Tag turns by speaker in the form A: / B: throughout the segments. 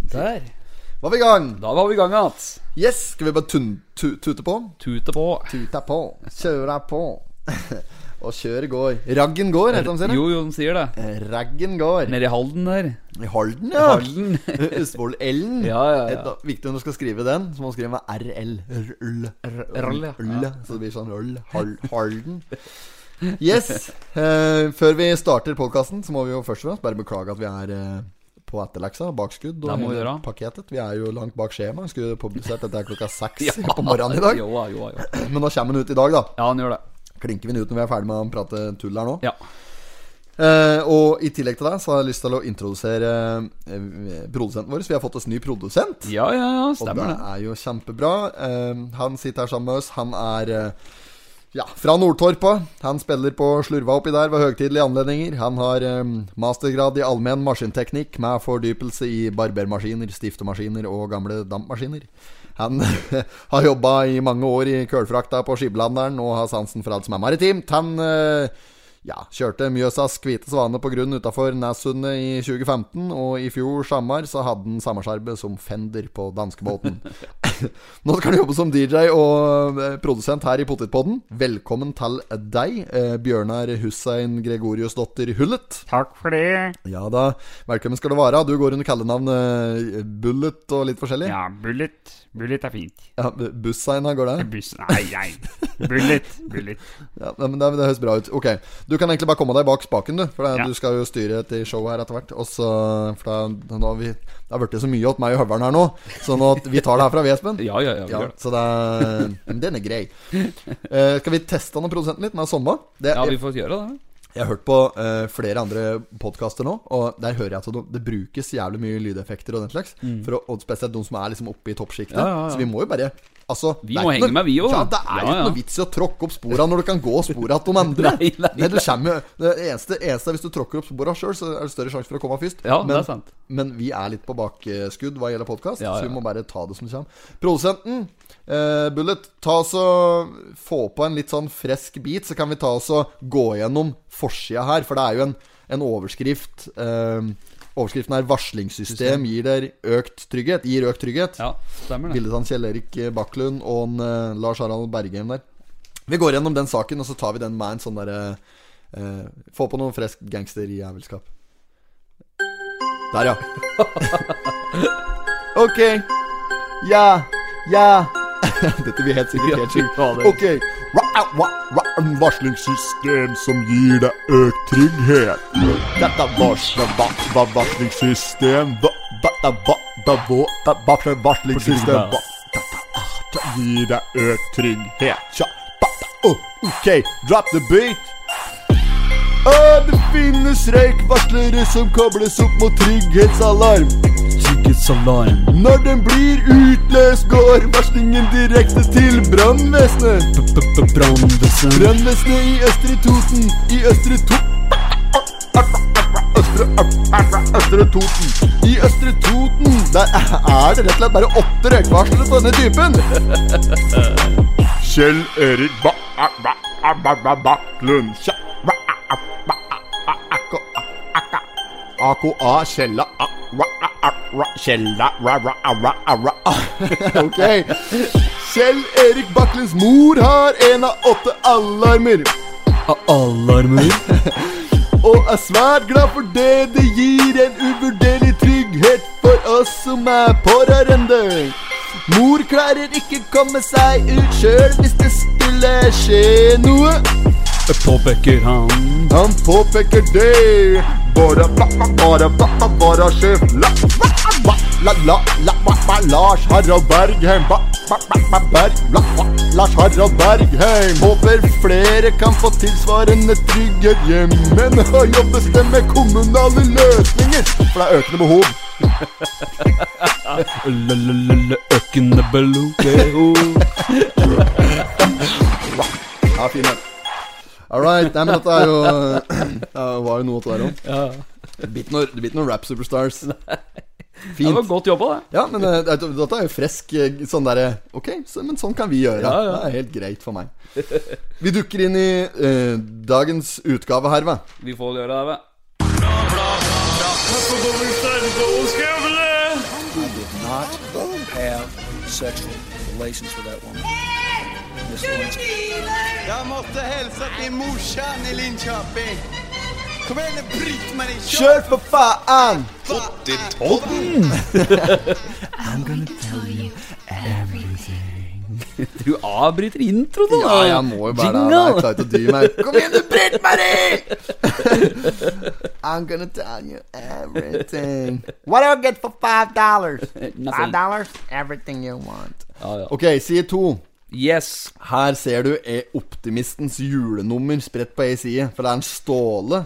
A: Der.
B: Var vi i gang?
A: Da var vi i gang igjen.
B: Yes, skal vi bare tun tu tute på?
A: Tute på.
B: Tuta på, kjøra på. Og kjøret går. Raggen går, heter de sier det.
A: Jo, jo, de sier det.
B: Raggen går.
A: Nede i Halden der.
B: I Halden, ja.
A: Halden.
B: Østfold-L-en.
A: Ja, ja, ja.
B: Et da- Viktig når du skal skrive den, så må du skrive med RL. Røll.
A: Røll, ja.
B: Øl, Så det blir sånn øl. Hal Halden. Yes. Eh, før vi starter podkasten, så må vi jo først og fremst bare beklage at vi er eh, på etterleksa. Bakskudd
A: Det
B: og
A: må vi gjøre.
B: pakketet. Vi er jo langt bak skjema. Skulle publisert dette her klokka seks
A: Ja.
B: på morgenen i dag.
A: Jo, ja, jo, ja, jo.
B: Men nå kommer den ut i dag, da.
A: Ja, han gjør det.
B: Klinker vi den ut når vi er ferdig med å prate tull her nå.
A: Ja.
B: Eh, og i tillegg til deg så har jeg lyst til å introdusere eh, produsenten vår. Så vi har fått oss ny produsent.
A: Ja, ja, ja,
B: Og
A: stemmer
B: det
A: det.
B: er jo kjempebra. Eh, han sitter her sammen med oss. Han er eh, ja, fra Nordtorpa. Han spiller på slurva oppi der ved høgtidelige anledninger. Han har eh, mastergrad i allmenn maskinteknikk med fordypelse i barbermaskiner, stiftemaskiner og gamle dampmaskiner. Han har jobba i mange år i kølfrakta på Skiblanderen og har sansen for alt som er maritimt. Han eh, ja, kjørte Mjøsas hvite svane på grunn utafor Nessundet i 2015, og i fjor sommer så hadde han samme skjerbe som Fender på danskebåten. Nå skal du jobbe som DJ og eh, produsent her i Potetpodden. Velkommen til deg, eh, Bjørnar Hussein Gregoriusdotter Hullet.
C: Takk for det.
B: Ja da, velkommen skal du være. Du går under kallenavn eh, Bullet og litt forskjellig.
C: Ja, Bullet. Bullet er fint.
B: Ja, Bu- Bussein, her går det?
C: Buss Nei, nei. Bullet. Bullet.
B: Ja, nei, men det, det høres bra ut. Ok, Du kan egentlig bare komme deg bak spaken, du. For det,
C: Ja.
B: du skal jo styre etter showet her etter hvert. Og så, for da, nå har vi, Det har blitt så mye åt meg og høveren her nå, så nå, vi tar det herfra, vi, Espen.
A: Ja, ja, ja. vi
B: Ja,
A: gjør det.
B: så det er, men den er grei. Eh, skal vi teste han og produsenten litt med Somma? Det,
A: Ja,
B: jeg,
A: vi får gjøre det.
B: jeg har hørt på eh, flere andre podkaster nå, og der hører jeg at det, det brukes jævlig mye lydeffekter og den slags. For å, og spesielt de som er liksom oppe i toppsjiktet.
A: Mm. Ja, ja, ja.
B: Så vi må jo bare Altså
A: Vi
B: det er
A: må
B: ikke
A: henge med, vi også,
B: Ja,
A: da.
B: det er jo
A: Ja,
B: ikke
A: ja.
B: noe vits i å tråkke opp spora når du kan gå spora til de andre.
A: Nei, nei,
B: du kommer, jo- det eneste, eneste er hvis du tråkker opp spora sjøl, så er det større sjanse for å komme først.
A: Ja, det
B: men,
A: er sant.
B: men vi er litt på bakskudd hva gjelder podkast,
A: Ja, ja.
B: så vi må bare ta det som det kommer. Produsenten, eh, Bullet, ta oss og få på en litt sånn fresk bit, så kan vi ta oss og gå gjennom forsida her, for det er jo en, en overskrift. Eh, overskriften er 'Varslingssystem gir deg økt trygghet'. Gir økt trygghet.
A: Ja, stemmer det.
B: Bildet av Kjell Erik Bakklund og en, eh, Lars Harald Bergheim der. Vi går gjennom den saken, og så tar vi den med en sånn derre eh, Få på noe fresk gangsterjævelskap. Der, ja. ok. Ja. Ja. Dette blir helt sikkert helt sjukt. Ok. Ra- ra- ra- en Varslingssystem som gir deg økt trygghet. Dette varsler va- va- varslingssystem va- va- va- va- va- va- va- varsler varslingssystem va- dette gir deg økt trygghet. Tja, ba- ba- oh, Ok, drop the beat. Å, det finnes røykvarslere som kobles opp mot trygghetsalarm.
A: Trygghetsalarm.
B: Når den blir utløst, går varslingen direkte til brannvesenet.
A: Brannvesen.
B: Brannvesenet i Østre Toten i Østre To- Østre, Østre Toten. I Østre Toten der er det rett og slett bare åtte røykvarslere på denne typen.
C: Kjell Erik ba a- ba a- ba ba Baklund. Kjell- ba a- a- ba a- a- ko- a- a- ka. AKA Kjella a- ra- a- a- ra- Kjella ra- ra- a- ra- a- ra- a.
B: Ok. Kjell Erik Bakklunds mor har en av åtte alarmer.
A: Alarmer.
B: Og er svært glad for det. Det gir en uvurderlig trygghet for oss som er pårørende. Mor klarer ikke komme seg ut sjøl hvis det skulle skje noe.
A: Påpeker han.
B: Han påpeker det. Bare, ba, ba, bare, ba, ba, bare sjef. La, ba, ba, la, la, la, ba, ba, Lars Harald Bergheim. Ba, ba, ba, ba, berg, la, ba, Lars Harald Bergheim. Håper flere kan få tilsvarende trygghet hjemmen. Og jobbes det med kommunale løsninger. For det er økende behov.
A: Økende beloke.
B: Ja, fin den. All right. Nei, men dette er jo Det var jo noe til det òg.
A: Ja.
B: Det blir ikke noe- det blir ikke noe rap superstars.
A: Det
B: Fint.
A: var godt jobba, det.
B: Ja, men eh, det- dette er jo fresk eh, sånn derre Ok, så, men sånn kan vi gjøre.
A: Ja, ja.
B: Det er helt greit for meg. Vi dukker inn i eh, dagens utgave her, hva?
A: Vi får gjøre det, vet
D: sexual relations with that woman. Miss Lewinsky.
E: Jeg måtte hilse til morsan i Linköping. Kom igjen, nå, Britt-Marie.
B: Kjør for faen!
A: Du avbryter introen, da.
B: Ja, jeg må jo bare Jeg
A: Jingle.
B: klarer ikke å dy meg. Kom igjen, du Britt-Marie! I'm gonna tell you everything.
F: What do I get for five dollars?
A: Nothing.
F: Five dollars? Everything you want.
A: Ja, ja.
B: Ok, side to.
A: Yes.
B: Her ser du er Optimistens julenummer spredt på ei side. For det er en Ståle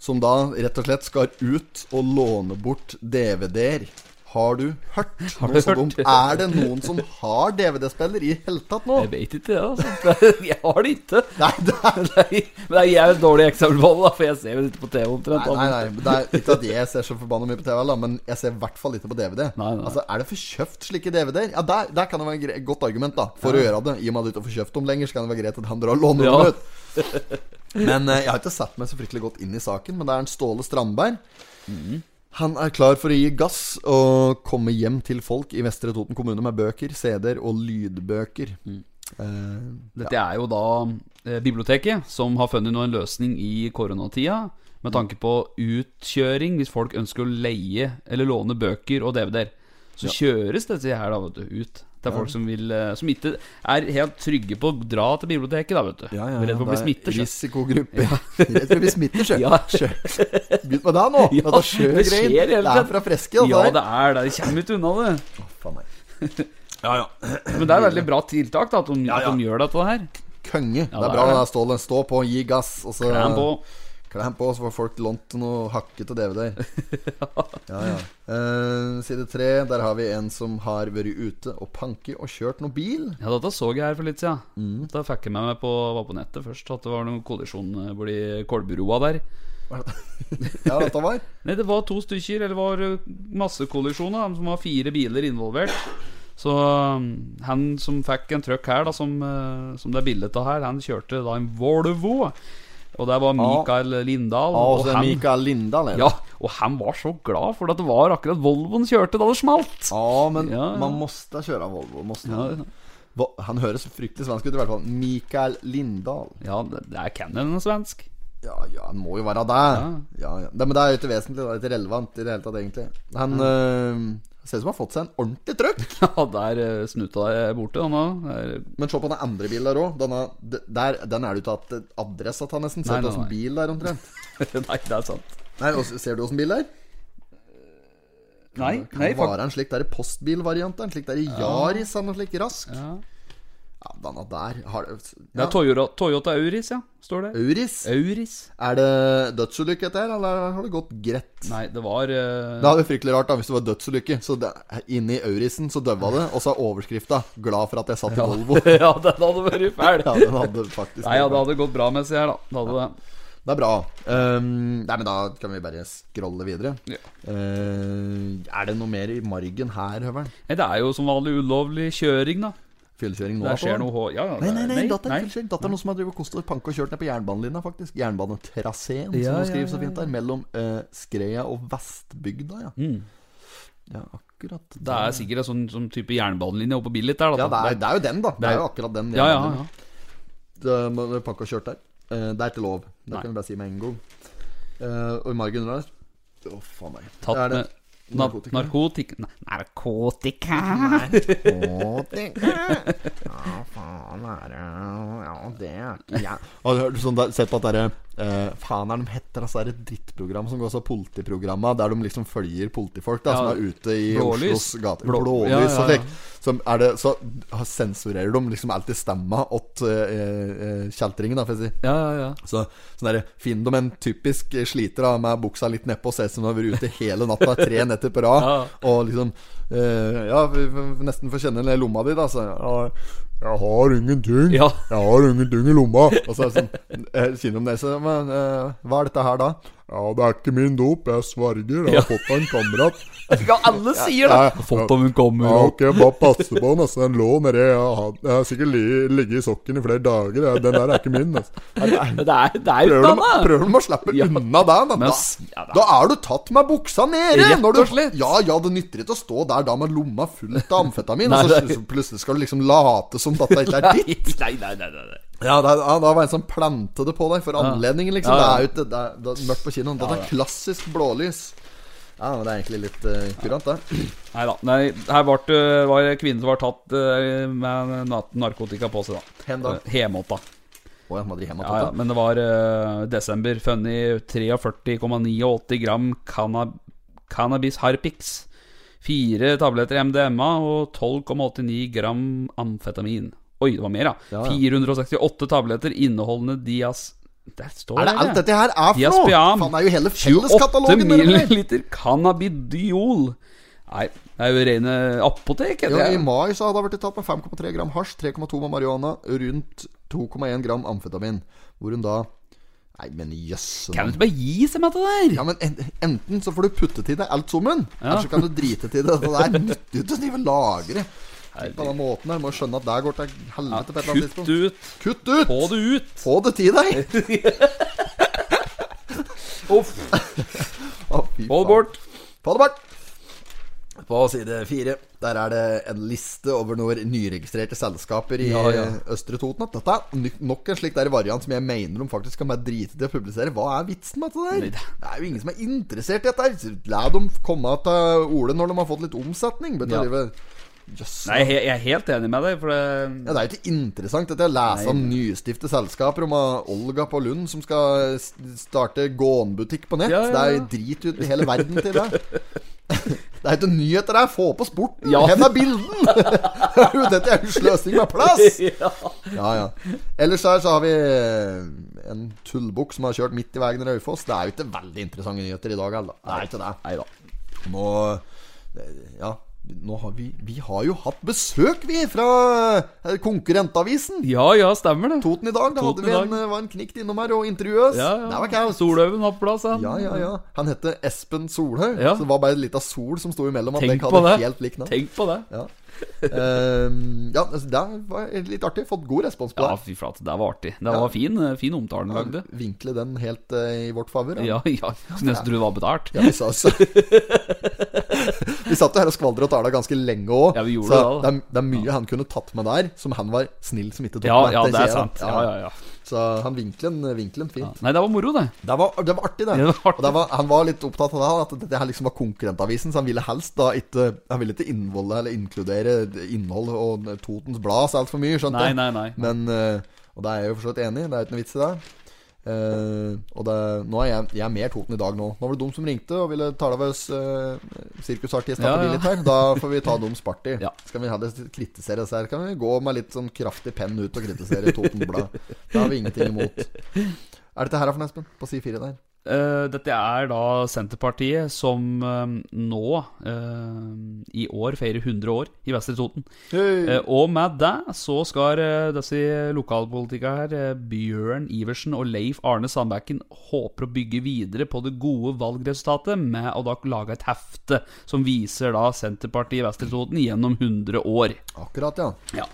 B: som da rett og slett skal ut og låne bort DVD-er. Har du hørt noe så
A: hørt?
B: dumt? Er det noen som har DVD-spiller i hele tatt nå?
A: Jeg vet ikke, altså. Jeg har det ikke.
B: Nei, det er
A: Nei, Men jeg er jo et dårlig eksempel på det, da, for jeg ser jo ikke på TV omtrent.
B: Nei, nei, nei, men det er ikke at jeg ser så forbanna mye på TV, da, men jeg ser i hvert fall ikke på DVD.
A: Nei, nei.
B: Altså, Er det for kjøpt slike DVD-er? Ja, der, der kan det være gre- et godt argument da for å gjøre det. I og med at du ikke får kjøpt dem lenger, så kan det være greit at han drar og låner
A: Ja.
B: dem ut. Men eh, jeg har ikke satt meg så fryktelig godt inn i saken, men det er en Ståle Strandberg. Han er klar for å gi gass og komme hjem til folk i Vestre Toten kommune med bøker, CD-er og lydbøker.
A: Mm.
B: Eh,
A: Dette er jo da eh, biblioteket som har funnet nå en løsning i koronatida.
B: Mm.
A: Med tanke på utkjøring, hvis folk ønsker å leie eller låne bøker og DVD-er. Så kjøres dette her da, vet du, ut. Det er folk som, vil, eh, som ikke er helt trygge på å dra til biblioteket, da, vet du.
B: ja, ja, ja,
A: Redd for å bli
B: det er
A: smittet. skjønner du.
B: Risikogruppe. Ja. Redd for å bli smittet, sjø.
A: Ja.
B: Sjø. Begynn med det nå.
A: Ja,
B: Dette er sjø
A: det skjer i
B: greier.
A: hele
B: Det
A: tatt.
B: er fra
A: Ja,
B: freske. det
A: det er det. De kommer ikke unna det.
B: er. Faen meg.
A: Men det er veldig bra tiltak da, at de, At de gjør dette her.
B: Konge. det
A: det
B: er
A: er
B: bra
A: det.
B: det der Ståle. Stå på, gi gass, og så
A: Klem på.
B: Klem på, så får folk lånt noe hakkete DVD-er. ja, ja. Eh, side tre, der har vi en som har vært ute og panket og kjørt noe bil.
A: Ja, dette så jeg her for litt siden.
B: Mm.
A: Da fikk jeg med meg på, var på nettet først at det var noen kollisjon eh, borti Kolburoa der.
B: Ja, dette var
A: Nei, det var to stykker, eller det var eh, masse kollisjoner, da, som var fire biler involvert. Så um, han som fikk en trøkk her, da, som, eh, som det er bildet av her, han kjørte da en Volvo. Og der var Mikael Lindahl.
B: Ja, og så
A: og,
B: er
A: han,
B: Mikael Lindahl. eller?
A: ja, og han var så glad for at det var akkurat Volvoen kjørte da det smalt.
B: Ja, men
A: Ja, ja.
B: man måste köra Volvo. Måste
A: Ja, ja.
B: Vo- Han høres fryktelig svensk ut, i hvert fall. Mikael Lindahl.
A: Ja, det det er Cannon svensk.
B: Ja, ja, han må jo være det. Ja. Ja, Det, men det er jo ikke vesentlig. Det er ikke relevant i det hele tatt, egentlig. Han øh, ser ut som han har fått seg en ordentlig trøkk.
A: Ja, der eh, snuta jeg borte, han òg. Der-
B: Men se på den andre bilen der òg. Den er det jo ikke at adressa til,
A: Nei,
B: nesten. Ser du
A: nei, nei.
B: åssen bil det er, omtrent?
A: Nei, det er sant.
B: Nei, og, ser du åssen bil det er?
A: Nei,
B: Kan det være en slik der postbilvariant? En slik der Yaris eller noe slik rask? Ja,
A: Ja.
B: denne der har det
A: Det
B: ja.
A: er Toyota, Toyota Auris, ja. Står det.
B: Auris?
A: Auris.
B: Er det dødsulykke dette her, eller har det gått greit?
A: Nei, det var eh,
B: Det hadde vært fryktelig rart da hvis det var dødsulykke. Så det, inni Aurisen så døva det, og så er overskrifta 'Glad for at jeg satt i Volvo'.
A: Ja, den hadde vært fæl.
B: Ja, den hadde faktisk
A: Nei, ja, det hadde gått bra med seg her, da. Det hadde det.
B: Det er bra. Ehm, nei, men da kan vi bare scrolle videre.
A: Ja.
B: Ehm, er det noe mer i margen her, Høveren?
A: Nei, det er jo som vanlig ulovlig kjøring, da.
B: Fyllekjøring nå?
A: Der
B: altså?
A: skjer noe hå- Ja, ja.
B: Nei, nei, nei,
A: det-
B: datter, unnskyld, datter er noen som har drevet og kost og panka og kjørt ned på jernbanelinja, faktisk. Jernbanetraseen,
A: Ja,
B: som
A: ja,
B: hun skriver så
A: ja,
B: fint der. Mellom eh, Skreia og Vestbygda, ja. Ja, akkurat.
A: Mm. Det er sikkert en sånn, sånn type jernbanelinje oppe på Billit der, da.
B: Ja, det er, det er jo den, da. Det
A: er-
B: er jo akkurat den.
A: ja, ja,
B: jernbanelinja.
A: ja.
B: Det må- det er pakka og kjørt der. Eh, Det er ikke lov. Det
A: Nei.
B: kan jeg bare si med en gang. Eh, og i margen under der Å, faen meg.
A: Tatt
B: Er det-
A: med na
B: narkotika?
A: narkotika Nei,
F: Narkotika.
B: Å, det-
F: Ja, faen er det Ja, det
B: Ja. Har du hørt sånn der, sett på at det er eh, Faen er de heter altså, det er et drittprogram som går så politiprogramma der de liksom følger politifolk da,
A: Ja.
B: som er ute i
A: Blålys.
B: Oslos gater.
A: Blå-
B: Blålys
A: Ja, ja,
B: og
A: ja.
B: slik. Som er det, så har- sensurerer de liksom alltid stemma åt eh, eh, kjeltringen, da, får jeg si.
A: Ja, ja, ja.
B: Så sånn der, Finn dem en typisk eh, sliter da, med buksa litt nedpå og ser ut som de har vært ute hele natta, tre netter på rad. Og liksom eh, Ja, vi- vi- nesten får kjenne den lomma di, da. Så, ja, jeg har ingenting.
A: Ja.
B: Jeg har ingenting i lomma. Og så er det sånn eh, Kjenner de det, så men, eh, Hva er dette her, da?
C: Ja, det er ikke min dop, jeg sverger. Jeg har fått av en kamerat.
A: Ja, alle sier
C: Ja, ja.
A: det! Fått om hun kommer
C: Ja,
A: og
C: ok, bare passe på den, altså. Den lå nedi. Jeg har- jeg har sikkert li- ligget i sokken i flere dager. Jeg- Den der er ikke min. Altså.
A: Men Det er, det er
B: Prøver de,
A: utdanna!
B: prøver de å slippe
A: Ja.
B: unna deg, men
A: Men
B: da,
A: s- ja, da-
B: da er du tatt med buksa nede!
A: Rett
B: når du-
A: og slett.
B: Ja, ja, det nytter ikke å stå der da med lomma fullt av amfetamin,
A: Nei,
B: og så,
A: det-
B: så plutselig skal du liksom late som dette ikke er ditt.
A: Nei, nei, nei, nei, nei.
B: Ja, det, er- ja, da var en som plante det på deg for anledningen, liksom.
A: Ja, ja.
B: Det er jo ikke- det er, det er mørkt på kinoen. Dette er klassisk blålys. Ja, men det er egentlig litt eh, kurant, det.
A: Nei da. Nei, her var det var det kvinnen som var tatt eh, med na- narkotika på seg, da.
B: Hen da.
A: Eh, Hemåtta.
B: Å, jeg må drive hjem og
A: Ja,
B: ta
A: ja, men det var eh, desember. Funnet 43,89 gram canna cannabis harpix. Fire tabletter MDMA og 12,89 gram amfetamin. Oi, det var mer, ja.
B: Ja, ja.
A: 468 tabletter inneholdende dias... Der står
B: Er det alt dette her er for noe?
A: Diazpiam.
B: Faen, det er jo hele
A: 8
B: felleskatalogen! dere.
A: milliliter cannabidiol. Nei, det er jo rene apotek.
B: Jo,
A: heter
B: I
A: det.
B: mai så hadde jeg vært tatt med 5,3 gram hasj, 3,2 med marihuana, rundt 2,1 gram amfetamin. Hvor hun da Nei, men jøsse
A: Kan du
B: navn.
A: ikke bare gi seg med det der?
B: Ja, men en, enten så får du putte til deg alt sammen,
A: Ja.
B: eller så kan du drite til det. Det der nytter jo ikke å drive og lagre. Tenk På den måten her, må skjønne at det går til helvete på et eller annet
A: Kutt
B: tidspunkt.
A: ut.
B: Kutt ut!
A: Få det ut.
B: Få det til deg!
A: Uff.
B: Å, fy
A: Få det
B: faen.
A: bort.
B: Få det bort! På side fire der er det en liste over noen nyregistrerte selskaper i
A: Ja, ja.
B: Østre Toten. At dette er ny- nok en slik der variant som jeg mener de faktisk kan bare drite til å publisere. Hva er vitsen med dette
A: Nei,
B: der?
A: det-
B: Det er jo ingen som er interessert i dette. her La dem komme til Ole når de har fått litt omsetning. Vet du,
A: Ja.
B: drive- Jøss.
A: Nei, jeg, jeg er helt enig med deg, for det
B: Ja, det er jo ikke interessant dette å lese om nystifte selskaper, om ah, Olga på Lund som skal eh, s- starte gåenbutikk på nett.
A: Ja, ja, ja.
B: Det er jo drit ut i hele verden til det. Det er jo ikke nyheter her! Få på sporten!
A: Ja.
B: Hen er bilden! dette er jo sløsing med plass! Ja, ja. Ellers her så har vi eh, en tullbukk som har kjørt midt i veien i Raufoss. Det er jo ikke veldig interessante nyheter i dag heller. Det er jo ikke det.
A: Nei da.
B: Nå Ja, nå har vi Vi har jo hatt besøk, vi, fra eh, konkurrentavisen.
A: Ja ja, stemmer det.
B: Toten i dag. Da
A: Toten
B: hadde vi
A: i
B: en,
A: dag.
B: eh, var en knikt innom her og intervjuet oss.
A: Ja, ja.
B: Det var kaos.
A: Solhaugen har på plass, han.
B: Ja, ja, ja. Han hette Espen Solhaug.
A: Ja.
B: Så det var bare litt av sol som sto imellom. At
A: Tenk
B: dere
A: på
B: hadde
A: det.
B: helt lik navn.
A: Tenk på det.
B: Ja. Ehm, ja, altså, det var litt artig. Fått god respons på
A: Ja,
B: det.
A: fy flate, det var artig. Det var fin, eh, fin omtale han lagde.
B: Vinkle den helt eh, i vårt favør.
A: Ja, ja. Skulle nesten tro det var betalt.
B: Ja, vi sa så. Vi satt jo her og skvaldra og tala ganske lenge òg.
A: Ja, vi gjorde
B: så
A: det da, da.
B: er, det er mye han kunne tatt med der, som han var snill som ikke tok
A: Ja,
B: med.
A: ja, det
B: sier
A: er
B: jeg da.
A: sant. Ja, ja, ja.
B: Så han vinkelen, vinkelen fin.
A: Nei, det var moro, det.
B: Det, var, det var artig, det.
A: Det var artig.
B: Og det var, han var litt opptatt av det, at dette her liksom var konkurrentavisen, så han ville helst da ikke Han ville ikke innvolde, eller inkludere innhold og Totens Blad så altfor mye, skjønte
A: Nei,
B: jeg.
A: nei, nei.
B: Men eh, Og det er jeg jo for så vidt enig i. Det er ikke noe vits i det. Eh, og det, nå er jeg, jeg er mer Toten i dag nå. Nå var det de som ringte og ville tale med oss uh, sirkusartistene
A: Ja,
B: på
A: ja.
B: litt her. Da får vi ta dems party.
A: Ja.
B: Skal vi ha det, kritisere oss her? Kan vi gå med litt sånn kraftig penn ut og kritisere Toten Blad? Det har vi ingenting imot. Er dette her for noe, Espen? På side fire der.
A: Eh, dette er da Senterpartiet som eh, nå, eh, i år, feirer 100 år i Vestre Toten. Eh, og med det så skal eh, disse lokalpolitikerne her, eh, Bjørn Iversen og Leif Arne Sandbekken, håper å bygge videre på det gode valgresultatet med å da lage et hefte som viser da Senterpartiet i Vestre Toten gjennom 100 år.
B: Akkurat, ja.
A: Ja.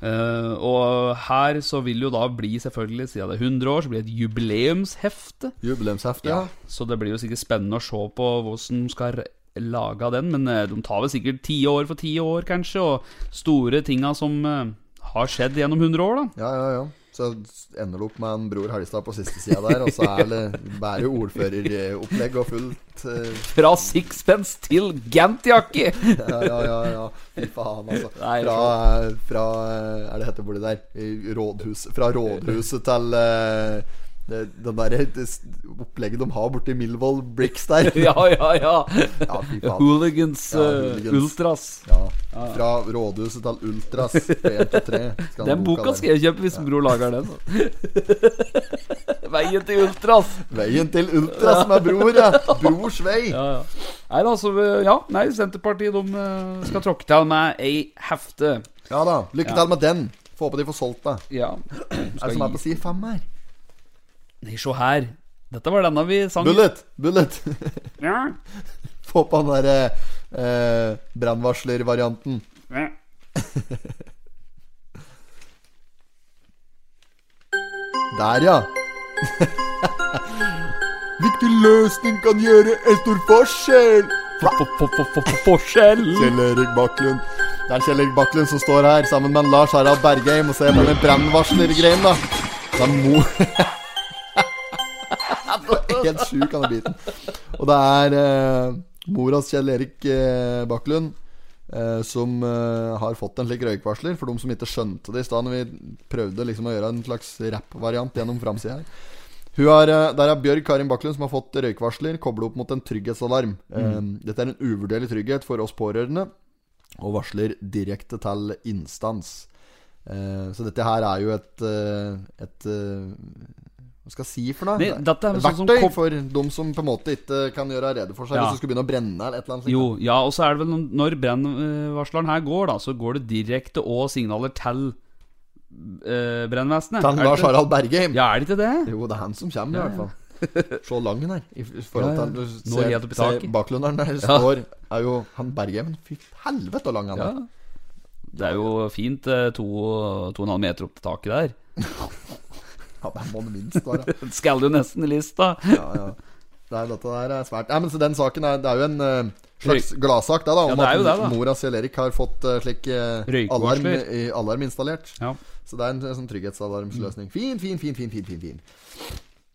A: Eh, og her så vil jo da bli selvfølgelig, siden det er 100 år, så blir det et jubileumshefte.
B: Jubileumshefte,
A: Ja.
B: ja.
A: Så det blir jo sikkert spennende å se på hvordan de skal lage den. Men eh, de tar vel sikkert tiår for tiår, kanskje. Og store tinga som eh, har skjedd gjennom 100 år, da.
B: Ja, ja, ja. Så ender du opp med en Bror Helgestad på siste sida der, og så er det bare ordføreropplegg og fullt eh,
A: Fra sixpence til Gant-jakke!
B: Ja, ja, ja. ja. Fy faen, altså.
A: Nei,
B: Fra, eh, fra eh, Er det heter borti der? I Rådhus, fra rådhuset til eh, det, den der, eh, det s- opplegget de har borti Milvoll Bricks der.
A: ja, ja, ja.
B: Ja, fy faen.
A: Hooligans,
B: Ja,
A: eh,
B: hooligans.
A: ultras.
B: Ja. Fra rådhuset til Ultras på 1 til 3. Skal
A: Den boka skal jeg kjøpe hvis Bror lager den. altså. Veien til ultras.
B: Veien til Ultras med bror, ja. Brors vei.
A: Ja, ja. Nei da, så eh, Ja, nei, Senterpartiet de eh, skal tråkke til med ei hefte.
B: Ja da. Lykke til med den. Få håpe de får solgt det.
A: Ja.
B: Er det som er på side fem her?
A: Nei, se her. Dette var denne vi sang.
B: Bullet! Bullet!
A: Ja.
B: Få på den derre eh, brannvarslervarianten.
A: Ja.
B: Der, ja. Viktig løsning kan gjøre en stor forskjell. Fra
A: Forskjell!
B: Kjell Erik Bakklund. Det er Kjell Erik Bakklund som står her sammen med Lars Harald Bergheim og ser på den brannvarslergreien, da. Det er mo... Helt sjuk, han er biten. Og det er eh, moras Kjell Erik eh, Bakklund eh, som eh, har fått en slik røykvarsler. For de som ikke skjønte det i stad, når vi prøvde liksom å gjøre en slags rappvariant gjennom framsida her. Hun har, eh, der er Bjørg Karin Bakklund som har fått røykvarsler koblet opp mot en trygghetsalarm. Eh, dette er en uvurderlig trygghet for oss pårørende, og varsler direkte til instans. Eh, så dette her er jo et, eh, et eh, Hva skal jeg si for noe?
A: Nei, dette er sånn som
B: Verktøy
A: kom-
B: for de som på en måte ikke kan gjøre rede for seg
A: Ja.
B: hvis du skulle begynne å brenne eller et eller annet. sånt.
A: Jo, ja, og så er det vel noen- Når brennvarsleren her går, da, så går det direkte og signaler til eh, brennvesenet.
B: Til
A: Er det
B: Lars
A: ikke-
B: Harald Bergheim.
A: Ja, er det ikke det?
B: Jo, det er han som kommer, i hvert fall. Se lang han er. I f- forhold
A: Ja, ja.
B: til du
A: Nå
B: ser-
A: helt opp i
B: ser
A: taket.
B: Baklunderen der står Er jo han Bergheimen. Fy helvete, så lang han
A: Ja.
B: er.
A: Det er jo fint eh, to, to og en halv meter opp til taket der.
B: Ja, det må det minst være.
A: Det skal jo nesten i lista.
B: Ja, ja. Det er, dette der er svært Nei, men så den saken er Det er jo en eh, slags gladsak, det, da.
A: Ja,
B: Om
A: det er jo det, da.
B: at mora til Erik har fått eh, slik eh, alarm,
A: Røykvarsler.
B: i- alarm installert.
A: Ja. Mm.
B: Så det er en, eh, sånn trygghetsalarmsløsning. Fin, fin, fin, fin, fin. fin, fin.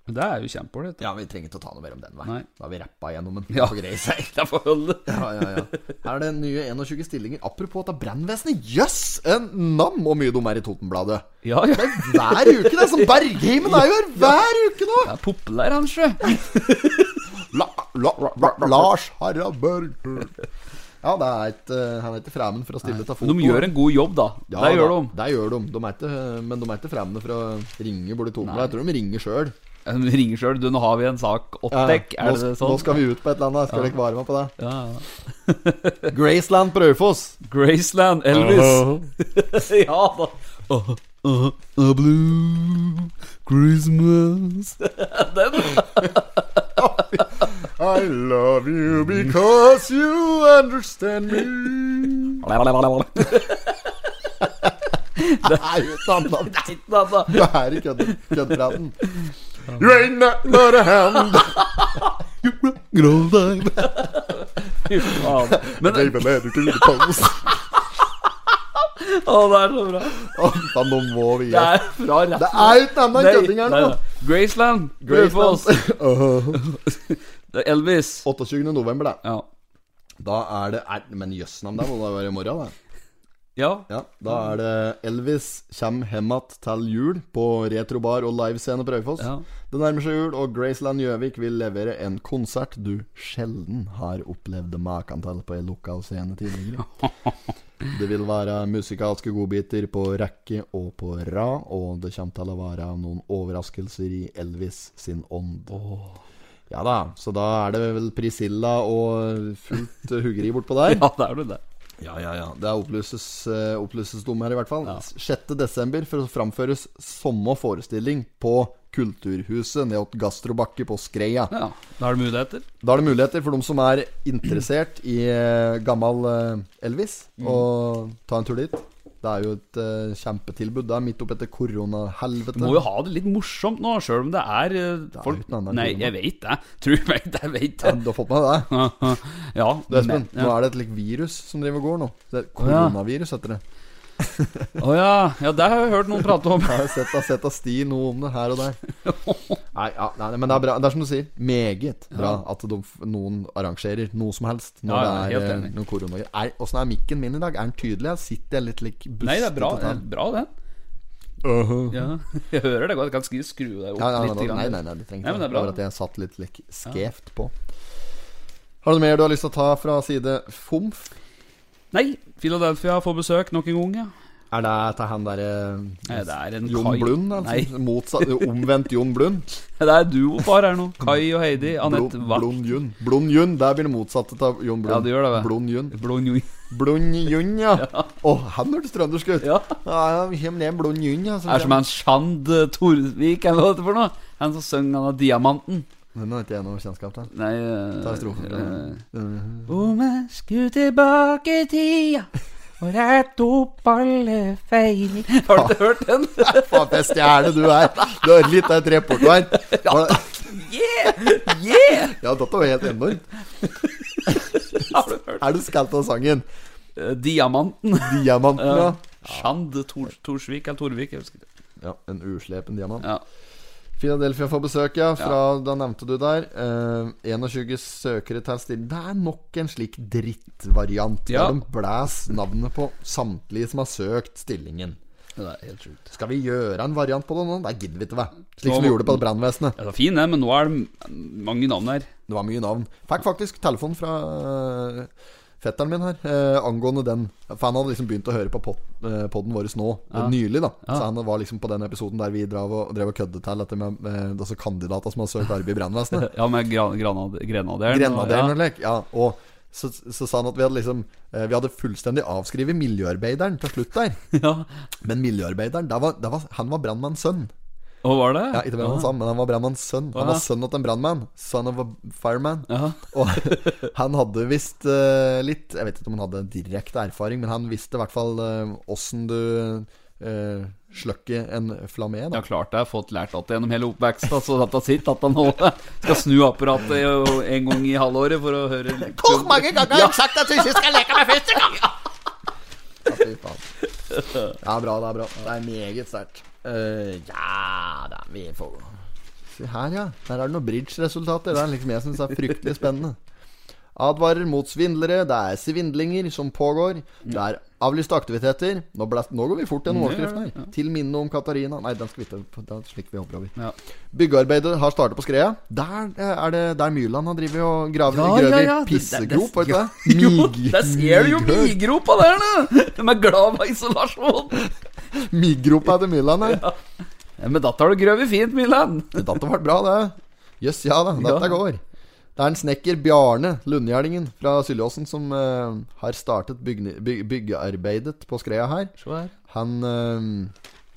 A: Det er jo kjempeålreit.
B: Ja, vi trenger ikke å ta noe mer om den,
A: Nei.
B: vei. Da har vi rappa gjennom den.
A: Ja.
B: Det får greie seg.
A: Det får holde.
B: Ja, ja, ja. Her er det nye 21 stillinger. Apropos at det er brannvesenet. Jøss! en nam hvor mye de er i Totenbladet.
A: Ja, ja.
B: Det er hver uke, det er som Bergheimen er jo her hver uke nå!
A: Det er populær, han, sjø.
B: La, la, la, la, Lars Harald Børg. Ja, det er et, eh, han er ikke fremmed for å stille til foto.
A: De gjør en god jobb, da.
B: ja,
A: det gjør
B: da,
A: de.
B: Det gjør de. de er ikke, eh, men de er ikke fremmede for å ringe borti Totenbladet. Jeg tror de ringer sjøl.
A: De ringer sjøl. Du, nå har vi en sak. Oppdekk.
B: Eh, nå,
A: er det
B: sk-
A: sånn?
B: nå skal vi ut på et eller annet. Skal dere ikke være med på det?
A: ja, ja.
B: Graceland på Raufoss.
A: Graceland, Elvis. ja da. Uh, uh, uh, blue Christmas
B: I love you because you understand me.
A: Nei,
B: Nei, uten annet.
A: altså.
B: Du er i kødd- køddpraten. You ain't nothing but a hound.
A: Fy faen. Men
B: Baby, let it through the post.
A: Å, det er så bra.
B: Å, da, nå må vi
A: Det
B: gi oss.
A: er fra rett
B: Det er jo ikke annet
A: Nei,
B: kødding her
A: nei,
B: nå.
A: nei. Graceland,
B: Graceland.
A: Raufoss. Det er Elvis.
B: 28. november, da.
A: Ja.
B: Da er det er, Men jøssnavn, det må da være i morgen, da.
A: ja.
B: Ja, da er det Elvis kjem hjem att til jul på retrobar og livescene på Raufoss.
A: Ja.
B: Det nærmer seg jul, og Graceland Gjøvik vil levere en konsert du sjelden har opplevd maken til på en lokal scene tidligere. Det vil være musikalske godbiter på rekke og på rad, og det kommer til å være noen overraskelser i Elvis sin ånd. Ja da, så da er det vel Priscilla og fullt huggeri bortpå der.
A: ja, det er du det.
B: Ja, ja, ja. Det er opplyses, uh, opplyses dom her, i hvert fall. 6. desember for å framføres samme forestilling på Kulturhuset nede hos Gastrobakke på Skreia.
A: Ja, Da har du muligheter.
B: Da er det muligheter for dem som er interessert i eh, gammel eh, Elvis,
A: Mm.
B: å ta en tur dit. Det er jo et eh, kjempetilbud. Det er midt oppetter koronahelvete.
A: Du må jo ha det litt morsomt nå, sjøl om det er eh,
B: er
A: folk
B: uten annet enn
A: Nei,
B: korona.
A: jeg veit det. Tro meg, jeg veit
B: Ja,
A: det.
B: du har fått med deg det?
A: Ja,
B: Du, Espen,
A: men-
B: nå
A: ja.
B: er det et like, virus som driver og går nå. Det er
A: ja.
B: koronavirus heter det.
A: Å ja. ja, det har jeg hørt noen prate om.
B: Jeg har sett, jeg har sett av Sti noe om det her og der. Nei, ja, nei, nei, men det er bra. Det er som du sier, meget bra at de, f- noen arrangerer noe som helst når
A: Ja, ja,
B: det
A: helt
B: er eh,
A: enig.
B: noen koronagreier. Er- Åssen er mikken min i dag? Er den tydelig? Jeg sitter jeg litt lik bustete?
A: Nei, det er bra, det
B: til
A: er
B: den?
A: bra den. Ja. Jeg hører det godt. Jeg kan skru- skru deg opp
B: Ja, ja,
A: litt.
B: nei,
A: grann.
B: nei, nei, nei, du trenger
A: Nei, men det
B: ikke det. Det
A: er bra.
B: var at jeg satt litt lik skjevt på. Har du noe mer du har lyst til å ta fra side FOMF?
A: Nei, Philadelphia får besøk nok en gang, ja.
B: Er det til han derre
A: Nei, Det er Eh, en
B: Jon
A: Kai-
B: Blund? Altså,
A: Nei,
B: motsatt, omvendt Jon Blund?
A: det er duopar her nå. Kai og Heidi. Anette
B: Blund-
A: Wack.
B: Blund Jun. Blund Jun, der blir det motsatte av Jon Blund.
A: Ja, det gjør det, vel.
B: Blund Jun.
A: Blond Jun.
B: Blund Jun, ja. Å, han hørtes trøndersk ut.
A: Ja.
B: ja, ja, vi kommer ned en Blund Jun, ja.
A: Er som han Sjand eh, Torvik, eller hva det heter for noe? Han som sang han av Diamanten.
B: Den har ikke jeg noe kjennskap til.
A: Nei eh,
B: Ta strofen.
A: eh,
B: Uh,
A: Om jeg skulle tilbake i tida og rette opp alle feil Har du hørt den?
B: Faen, for en stjerne du er. Du har litt av et reporto her. Var det-
A: Yeah! yeah!
B: Ja, dette var helt enormt.
A: Har du hørt
B: Er du skalt av sangen?
A: Eh, Diamanten.
B: Diamanten, ja.
A: Sjand Tor Torsvik eller Torvik, jeg husker ikke.
B: ja en uslepen diamant.
A: Ja.
B: Philadelphia får besøk, ja. Fra, Da nevnte du der. Eh, 21 søkere til stilling. Det er nok en slik drittvariant.
A: Ja.
B: Der de blæs navnet på samtlige som har søkt stillingen.
A: Det er helt sjukt.
B: Skal vi gjøre en variant på det nå? Det gidder vi ikke, hva. Slik
A: Nå
B: som vi
A: må-
B: gjorde på brannvesenet.
A: Ja, det er fin, det, men nå er det m- mange navn her.
B: Det var mye navn. Fikk faktisk telefon fra eh, fetteren min her eh, angående den. For han hadde liksom begynt å høre på pod, podden vår nå, eh, nylig. da Så han var liksom på den episoden der vi drev og, drev og kødde til dette med eh, altså kandidater som har søkt arbeid i brannvesenet.
A: Ja, med gran granad Grenaderen.
B: Grenaderen
A: ja.
B: og lek. Ja, og så, så sa han at vi hadde liksom eh, Vi hadde fullstendig avskrevet miljøarbeideren til slutt der.
A: ja.
B: Men miljøarbeideren, der var, der var, han var brannmanns sønn.
A: Og var det?
B: Ja, ikke brannmanns
A: ja.
B: sønn, men han var brannmanns sønn.
A: Ja.
B: Han var sønn til en brannmann. Son of a fireman.
A: Ja.
B: Og han hadde visst eh, litt Jeg vet ikke om han hadde direkte erfaring, men han visste i hvert fall eh, åssen du uh, sløkker en flamme.
A: Ja,
B: Da.
A: klart det. Jeg har fått lært at gjennom hele oppveksten. Så dette sitt at han nå skal snu apparatet jo en gang i halvåret for å høre
C: Hvor mange ganger har jeg sagt at du ikke skal leke med første gang?
B: Ja, fy faen. Det er bra, det er bra. Det er meget sterkt. Eh, ja da, vi får gå. Se her, ja. Der er det noen bridge-resultater. Det er liksom jeg syns er fryktelig spennende. Advarer mot svindlere. Det er svindlinger som pågår. Det er avlyste aktiviteter. Nå, ble, nå går vi fort gjennom overskriften her. Til minne om Katarina. Nei, den skal vi ikke Det er slik vi hopper over.
A: Ja.
B: Byggearbeidet har startet på Skreia. Der eh, er det der Myrland har drevet og gravd
A: Ja,
B: i grøv
A: ja,
B: i
A: ja. Det- det-
B: pissegrop,
A: det-
B: vet du
A: ja.
B: det?
A: Jo,
B: Mig-
A: der ser du jo
B: mighøl.
A: migropa der, nå! De er glad for isolasjon.
B: Miggropa til Myrland her.
A: Ja, men dette har du grøvet fint, Milan.
B: Dette ble bra, det. Jøss, ja da. Dette
A: Ja.
B: går. Det er en snekker, Bjarne Lundgjerdingen fra Syljåsen, som eh, har startet bygne, byg, byggearbeidet på skreia her.
A: Se her.
B: Han eh,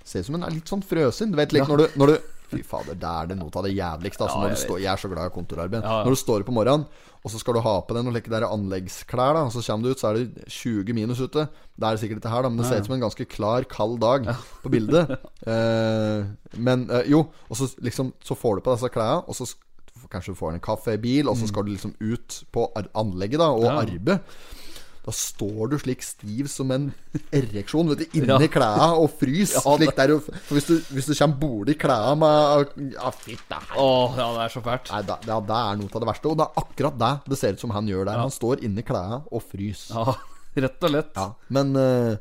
B: ser ut som han er litt sånn frøsen. Du vet, like, når, du, når du Fy fader, det er det noe av det jævligste. Altså,
A: Ja,
B: når
A: jeg
B: du
A: vet.
B: står, jeg er så glad i kontorarbeid.
A: Ja, ja.
B: Når du står opp om morgenen, og så skal du ha på deg noen like der anleggsklær, da, og så kommer du ut, så er det 20 minus ute. Det er det sikkert dette her, da, men det ser ut som en ganske klar, kald dag på bildet. Eh, men eh, jo, og så liksom Så får du på disse klærne, og så sk- Kanskje du får en kaffe i bil, og så skal du liksom ut på ar- anlegget da og
A: Mm. Ja.
B: arbeid. Da står du slik stiv som en ereksjon vet du, inni klærne og frys. slik der, og- for hvis, du, hvis du kommer borti klærne med Ja, fytti
A: Å, ja, det er så fælt.
B: Nei, det, ja, det er noe av det verste. Og det er akkurat det det ser ut som han gjør der. Han står inni klærne og fryser.
A: Ja, rett og lett.
B: Ja, Men eh,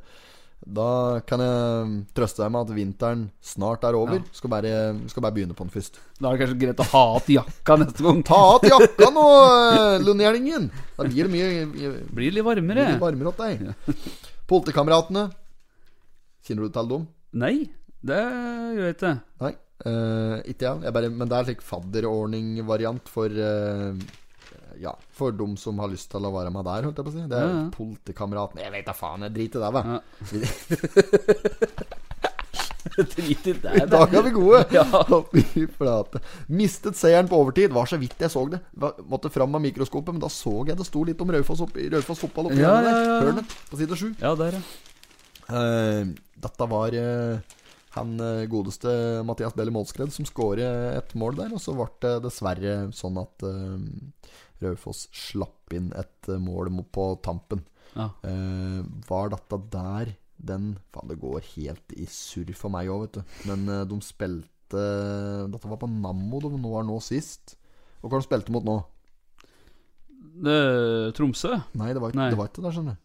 B: da kan jeg trøste deg med at vinteren snart er over. Skal, bare, skal bare begynne på den først.
A: Da er det kanskje greit å ha igjen jakka neste gang.
B: Ta av deg jakka nå, eh, Lundgjerdingen! Da blir det mye
A: Blir litt varmere.
B: blir det varmere åt deg. Politikameratene. Kjenner du til dem?
A: Nei, det gjør jeg ikke.
B: Nei, eh, ikke jeg. jeg bare, men det er slik fadderordning-variant for eh, Ja, for dem som har lyst til å være med der, holdt jeg på å si. Det er
A: Ja, ja.
B: politikameraten Jeg veit da faen, jeg driter i det, hva.
A: Ja. Drit i det.
B: I dag er vi gode!
A: Ja.
B: Å, Fy flate. Mistet seieren på overtid. Var så vidt jeg så det. Var, måtte fram med mikroskopet, men da så jeg det sto litt om Raufoss opp- Raufoss fotball oppi
A: Ja,
B: hjørnet der.
A: ja, ja, ja.
B: Hørnet, på side sju.
A: Ja, der, ja.
B: Eh, dette var eh, han eh, godeste Mathias Belli Målskred som skåret eh, et mål der. Og så ble det dessverre sånn at eh, Raufoss slapp inn et eh, mål mot- på tampen.
A: Ja.
B: Eh, var dette der den Faen, det går helt i surr for meg òg, vet du. Men eh, de spilte Dette var på Nammo de nå var nå sist. Og hva de spilte mot nå?
A: Det, Tromsø?
B: Nei, det var, ikke-
A: Nei.
B: Det, var ikke der, skjønner du.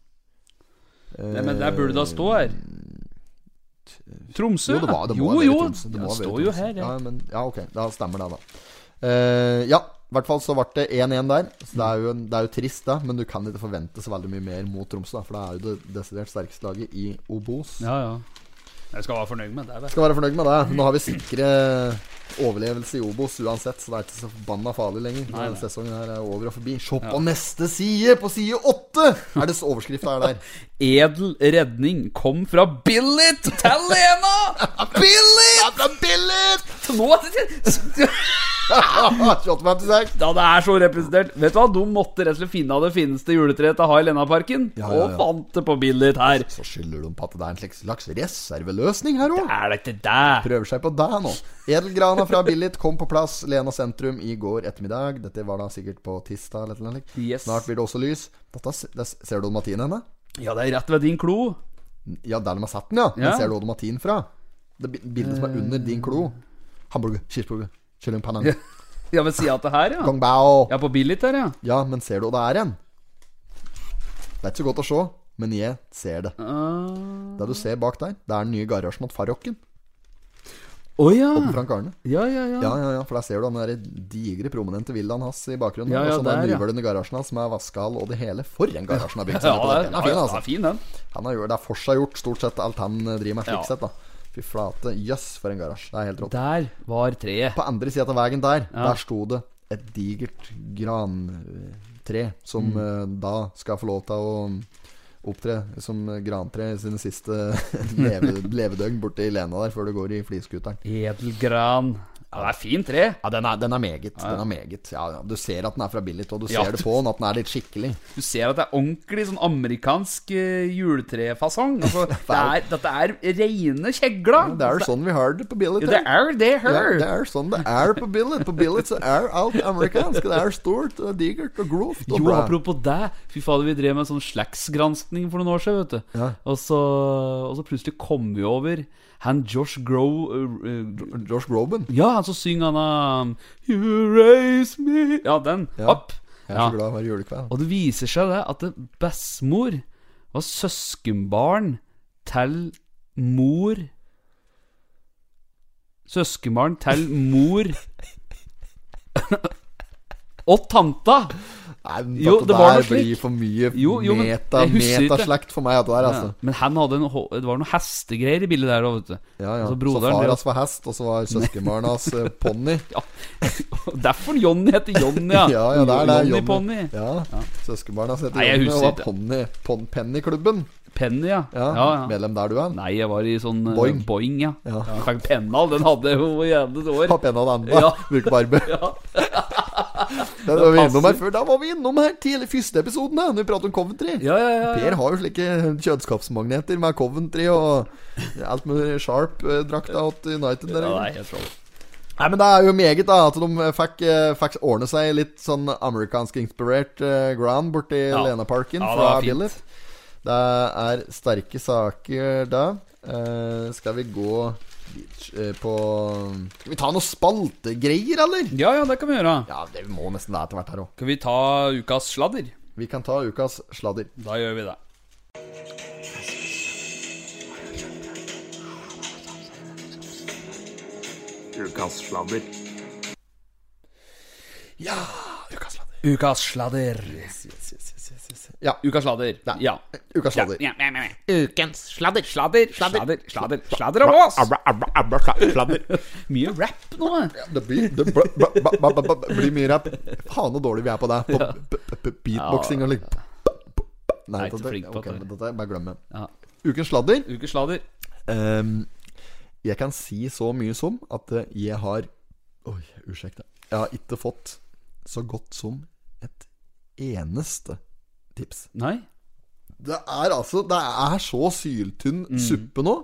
A: Nei, men der burde det stå her. Tromsø?
B: Jo, det, var, det
A: jo,
B: må ha vært i
A: jo.
B: Tromsø. Det må
A: ja,
B: ha vært i
A: står jo
B: Tromsø.
A: her, ja.
B: ja. men, ja, ok. Da stemmer det, da. Eh, ja, I hvert fall så ble det 1-1 der. Så det er, jo, en- det er jo trist, da. Men du kan ikke forvente så veldig mye mer mot Tromsø, da. For det er jo det desidert sterkeste laget i Obos.
A: Ja, ja. Jeg skal være fornøyd med det. vet du.
B: Skal være fornøyd med det. Nå har vi sikre overlevelse i Obos uansett, så det er ikke så forbanna farlig lenger.
A: Nei, nei.
B: Denne sesongen her er over og forbi. Se på neste side! På side åtte er det overskrifta er der.
A: Edel redning kom fra Billy til Lena! Billy!
B: Det er billig!
A: Nå
B: Ah, 28,56.
A: Ja, det er så representert. Vet du hva, De måtte rett og slett finne av det fineste juletreet til å ha i Lenaparken,
B: Ja, ja, ja.
A: og fant det på Billy her.
B: Så skylder de på at det er en slags- slags reserveløsning her òg.
A: Er det ikke det?
B: prøver seg på deg nå. Edelgrana fra Billit kom på plass Lena sentrum i går ettermiddag. Dette var da sikkert på tirsdag eller noe slikt.
A: Yes.
B: Snart blir det også lys. Dette, s- der s- ser du Odomatin henne?
A: Ja, det er rett ved din klo.
B: Ja, der de har satt den, ja. Den
A: Ja.
B: ser du Odomatin fra. Det bi- bildet som er under din klo. Hamburger, cheeseburger, kyllingpanne,
A: Ja. Ja, ved sida av det her, ja.
B: gong bao.
A: Ja, på Billy her, ja.
B: Ja, men ser du hva det er igjen? Det er ikke så godt å se, men jeg ser det.
A: Ah.
B: Det du ser bak der, det er den nye garasjen til Farrokken.
A: Å ja.
B: Frank Arne.
A: Ja, ja, ja.
B: Ja, ja, ja, for der ser du den der digre, prominente villaen hans i bakgrunnen.
A: Ja, ja,
B: og så den
A: der, ja.
B: nyvølende garasjen hans med vaskehall og det hele. For en garasje han har bygd
A: Ja,
B: seg! opp.
A: det er,
B: den er fin,
A: den er
B: altså.
A: fin, den.
B: Han har gjort, det er forseggjort stort sett alt han eh, driver med, slik
A: Ja.
B: sett. da Fy flate. Jøss, for en garasje. Det er helt rått.
A: Der var treet.
B: På andre sida av veien der, der sto det et digert grantre som
A: Mm.
B: eh, da skal få lov til å mm, opptre som eh, grantre i sine siste leve, levedøgn borti Lena der, før du går i fliskuteren.
A: Edelgran. Ja, det er fint tre.
B: Ja, den er, den er meget. Den er meget. Ja, ja. Du ser at den er fra Billit, og du ser
A: Ja.
B: det på den at den er litt skikkelig.
A: Du ser at det er ordentlig sånn amerikansk eh, juletrefasong. Altså, det er, dette er reine kjegla.
B: Det er jo sånn vi har det på Billit.
A: Ja, det er det
B: Ja,
A: her.
B: det er sånn det er på Billit. På Billit så er alt amerikansk. Det er stort og digert og grovt og
A: Jo,
B: bra.
A: apropos det. Fy fader, vi drev med en sånn slagsgranskning for noen år siden, vet du.
B: Ja.
A: Og, så, og så plutselig kom vi over han Josh Grow... eh, eh,
B: Josh Groban.
A: ja, han som synger han um, You raise me Ja, den.
B: Ja.
A: Opp.
B: Jeg er så glad hver julekveld.
A: Og det viser seg det at det- bestemor var søskenbarn til mor Søskenbarn til mor og tanta!
B: Nei, men
A: Jo,
B: dette
A: det var noe
B: der blir
A: slik.
B: for mye
A: Jo, jo, men
B: meta,
A: jeg husker ikke.
B: metaslekt for meg, dette der, altså.
A: Ja. Men han hadde en, hå- det var noen hestegreier i bildet der da, vet du.
B: Ja, ja.
A: Altså,
B: Så,
A: broderen,
B: far
A: det-
B: hans var hest, og så var søskenbarnen hans eh, ponni.
A: Ja. Derfor Johnny heter Johnny, ja.
B: Ja, ja, det er det.
A: Johnny
B: Johnny.
A: Ponni.
B: Ja. Søskenbarnet hans heter
A: Nei, jeg
B: Jonny og
A: husker
B: var ponni. Pon, Pennyklubben.
A: Penny, ja.
B: Ja,
A: ja, ja.
B: Medlem der du er.
A: Nei, jeg var i sånn eh,
B: Boing.
A: Boing ja.
B: Ja.
A: Jeg Fikk penna, den hadde jeg jo i hele et år.
B: Papp en av det andre.
A: Ja.
B: Bruke barbe.
A: Ja.
B: Da var vi
A: passer.
B: innom her før. Da var vi innom her tidlig første episoden, da når vi pratet om Coventry.
A: Ja, ja, ja, ja.
B: Per har jo slike kjønnskapsmagneter med Coventry og alt eh, med Sharp-drakta til United. Der,
A: Ja, det
B: egentlig.
A: er helt rått.
B: Nei, men det er jo meget, da. At de fikk, eh, fikk ordne seg litt sånn amerikansk-inspirert eh, ground borti
A: Ja.
B: Lenaparken
A: Ja, det
B: fra
A: var fint.
B: Billet. Det er sterke saker da. Eh, skal vi gå litt, eh, på Skal vi ta noe spaltegreier, eller?
A: Ja, ja, det kan vi gjøre.
B: Ja, det må nesten være etter hvert her òg.
A: Skal vi ta ukas sladder?
B: Vi kan ta ukas sladder.
A: Da gjør vi det.
C: Ukas sladder.
B: Ja, ukas sladder.
A: Ukas sladder.
B: Ja.
A: Ukas sladder.
B: Nei.
A: Ja.
B: Ukas sladder.
A: Ja, ja, ja, ja.
F: Ukens sladder.
A: Sladder, sladder, sladder, sladder om oss!
C: Abba, abba, abba, sla- sladder.
A: Mye rap nå. eh.
B: Det blir, det bl- bl- bl- bl- bl- bl- blir mye rap. Faen så dårlig vi er på det. På b- b- b- beatboxing og litt
A: Jeg
B: Nei,
A: er ikke så flink
B: dette,
A: på
B: ok,
A: dette.
B: men dette bare glem det.
A: Ja.
B: Ukens sladder.
A: Ukas sladder.
B: Ehm, jeg kan si så mye som at eh, jeg har Oi, unnskyld. Jeg har ikke fått så godt som et eneste tips.
A: Nei?
B: Det er altså Det er så syltynn
A: Mm.
B: suppe nå.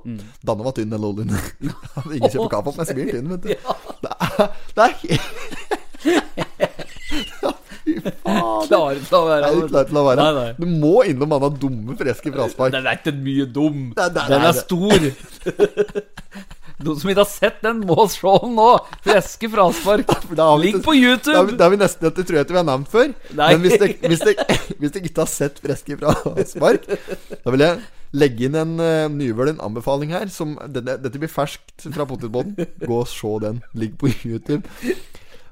B: Danne var tynn, den lollen. Ingen kjøper kaffe, men jeg blir tynn, vet du. Det er, det er helt Fy faen.
A: Klare til å
B: Det
A: være
B: er ikke lett til å være.
A: Nei, nei.
B: Du må innom han har dumme, freske fraspark.
A: Den er ikke mye dum.
B: Nei, nei,
A: Den
B: nei,
A: er
B: det-
A: stor. Noen som ikke har sett den, må se den nå. Freske fraspark.
B: For da har vi
A: Ligg
B: ikke-
A: på
B: Da har vi,
A: YouTube.
B: da har vi nesten dette tror jeg ikke vi har nevnt før.
A: Nei.
B: Men hvis dere hvis dere- hvis dere ikke har sett Freske fra Spark, da vil jeg legge inn en uh, nyvølen anbefaling her. Som, denne, dette blir ferskt fra potetbåten. Gå og se den. Ligg på YouTube.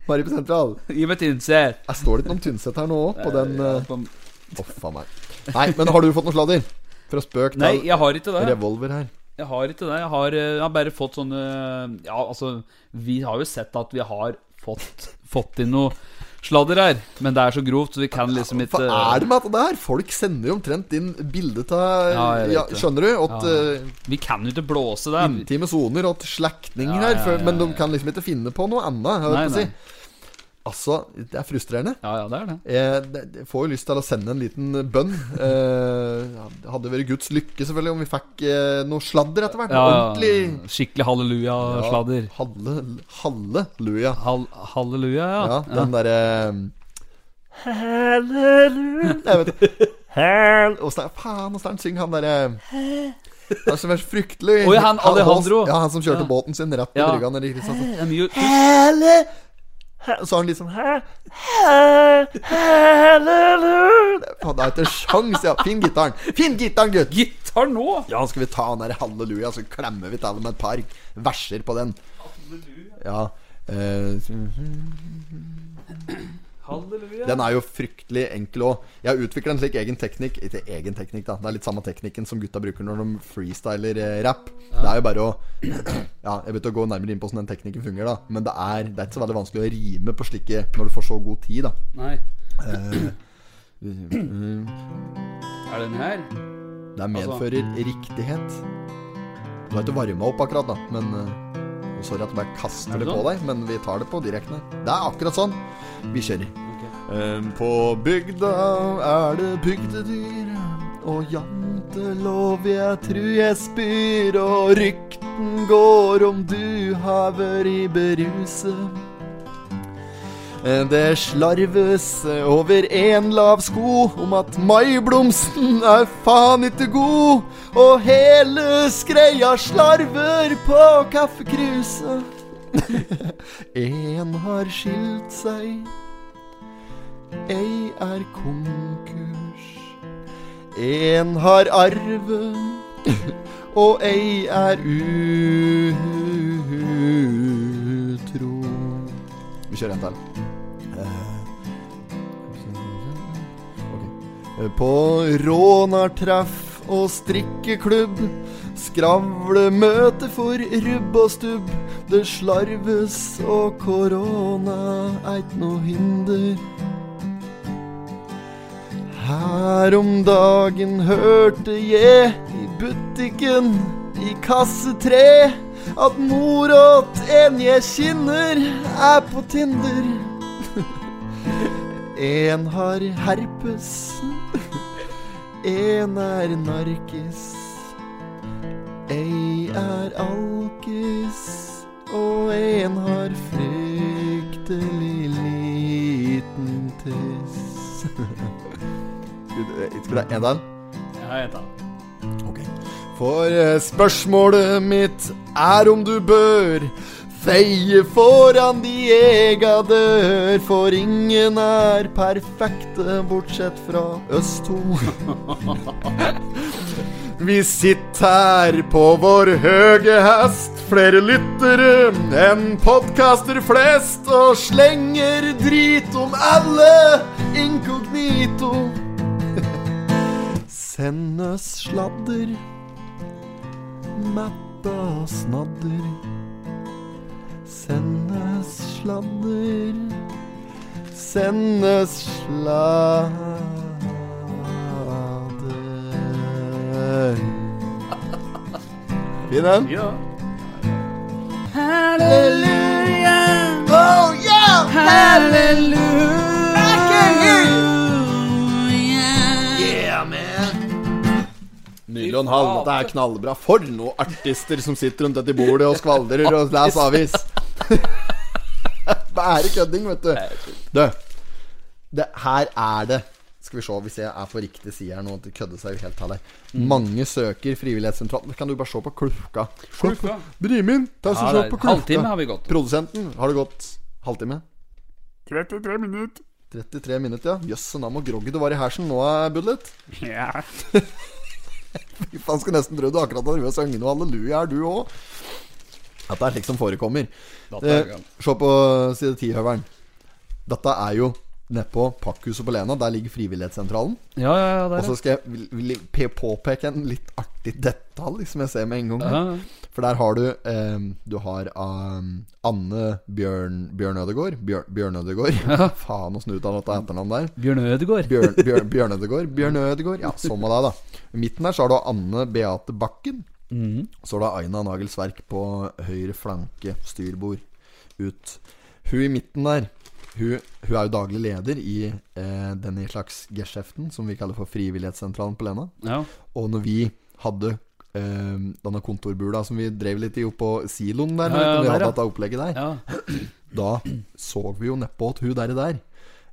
B: Mari på sentral.
A: Gi meg et innsett.
B: Jeg står det ikke noe om Tynset her nå òg, på den
A: Ja,
B: eh,
A: på-
B: Å, faen meg. Nei, men har du fått noe sladder? Fra spøk til
A: Nei, jeg har ikke det.
B: revolver her.
A: Jeg har ikke det. Jeg har, eh, jeg har bare fått sånne Ja, altså Vi har jo sett at vi har fått, fått inn noe sladder her. Men det er så grovt, så vi kan liksom ikke
B: Hva er det med dette der? Folk sender jo omtrent inn bilde av ja,
A: Ja, jeg vet det.
B: Skjønner du? At
A: Ja.
B: eh,
A: Vi kan jo ikke blåse det.
B: intime soner og slektninger
A: Ja, ja,
B: her. For,
A: ja,
B: men de
A: ja.
B: kan liksom ikke finne på noe annet. Jeg
A: Nei,
B: holdt på å
A: nei.
B: si. Altså, det er frustrerende.
A: Ja, ja, det er det.
B: Eh, det- Jeg får jo lyst til å sende en liten bønn. Eh, det hadde vært Guds lykke selvfølgelig om vi fikk eh, noe sladder etter hvert.
A: Ja,
B: Ordentlig.
A: skikkelig halleluja-sladder.
B: Ja, halle, halleluja.
A: Hall- halleluja, ja.
B: Ja, den derre um,
F: Halleluja.
B: Jeg vet
F: Hell.
B: Åssen Faen, åssen han synger han derre Det er så verst fryktelig.
A: Oi, han Alejandro.
B: Ja, han som kjørte
A: Ja.
B: båten sin rett i
A: Ja.
B: brygga nede i Kristiansand.
A: En ju-
B: Hele Så har han liksom
F: Hæ? Hæ? Halleluja.
B: Faen, Det er ikke sjans, ja. Finn gitaren. Finn gitaren, gutt!
A: Gitar nå!
B: Ja, skal vi ta den der halleluja, så klemmer vi til med et par verser på den. Ja eh,
A: Halleluja.
B: Den er jo fryktelig enkel òg. Jeg har utvikla en slik egen teknikk Ikke egen teknikk, da. Det er litt samme teknikken som gutta bruker når de freestyler eh, rap. Det er jo bare å Ja, jeg begynte å gå nærmere inn på hvordan den teknikken fungerer, da. Men det er, det er ikke så veldig vanskelig å rime på slike når du får så god tid, da.
A: Nei.
B: Eh,
A: Er det den her?
B: Det
A: Altså,
B: medfører
A: mm.
B: riktighet. Du har ikke varma opp akkurat, da, men eh, Sorry at jeg bare kaster
A: Er
B: det,
A: det sånn?
B: på deg, men vi tar det på direkten. her. Det er akkurat sånn. Vi kjører. Em, På bygda er det bygdedyr, og jantelov jeg tru jeg spyr, og rykten går om du har vært i beruset. Eh, Det slarves over en lav sko om at maiblomsten er faen ikke god, og hele skreia slarver på kaffekruset. en har skilt seg, ei er konkurs. En har arve, og ei er utro. Vi kjører en til. Ok. På rånartreff og strikkeklubb Skravlemøte for rubb og stubb Det slarves og korona eit no hinder Her om dagen hørte jeg i butikken i kasse tre at mora til en jeg kjenner, er på Tinder. En har herpes, en er narkis, ei er alkis, og en har fryktelig liten tiss. Skal det en til?
A: Ja, jeg tar den.
B: Ok. For eh, spørsmålet mitt er om du bør feie foran de ega dør, for ingen er perfekte bortsett fra oss to. Vi sitter her på vår høge hest, flere lyttere enn podkaster flest, og slenger drit om alle inkognito. Send oss sladder, metta snadder. Send oss sladder, send oss sladder. Fin en?
A: Ja.
B: Oh yeah! Nydelig og en halv. Dette er knallbra. For noen artister som sitter rundt dette bordet og skvaldrer og leser avis. Bare kødding, vet du. Du, det, her er det Skal vi se hvis jeg er på riktig side her nå. Det kødder seg jo helt til her. Mange søker frivillighetssentralen. Kan du bare se på klokka?
A: Klokka.
B: Drimin, ta
A: Ja,
B: og se
A: det er-
B: på
A: halvtime
B: klokka.
A: har vi gått.
B: Produsenten, har det gått halvtime?
F: 33 minutter.
B: 33 minutter, ja. Jøss, da må groggy du var i hersen nå, eh, Budlet.
F: Ja.
B: Fy faen, skulle nesten tro du akkurat hadde drevet og sunget noe halleluja, er du òg? At det er slik som forekommer.
A: Dette er
B: Eh,
A: galt.
B: se på side 10, Høveren. Dette er jo nedpå Pakkhuset på Lena. Der ligger Frivillighetssentralen.
A: Ja, ja, ja, det
B: Og
A: er
B: så
A: det.
B: skal jeg vil- vil pe- påpeke en litt artig detalj som jeg ser med en gang.
A: Ja, ja.
B: For der har du eh, Du har ehm, Anne Bjørn, Bjørn Ødegård. Bjørn, Bjørn Ødegård. Faen, åssen uttaler han dette etternavnet der?
A: Bjørn Ødegård.
B: Bjørn, Bjørn, Bjørn Ødegård. Bjørn Ødegård. Ja, sånn med deg, da. I midten der så har du Anne Beate Bakken.
A: Mm.
B: Så er det Aina Nagelsverk på høyre flanke, styrbord, ut. Hun i midten der, hun, hun er jo daglig leder i eh, denne slags geskjeften som vi kaller for Frivillighetssentralen på Lena.
A: Ja.
B: Og når vi hadde eh, denne kontorbula som vi drev litt i oppå siloen der,
A: Ja, ja,
B: når vi
A: der,
B: hadde
A: ja.
B: dette opplegget der,
A: ja.
B: da så vi jo nedpå at hun der, der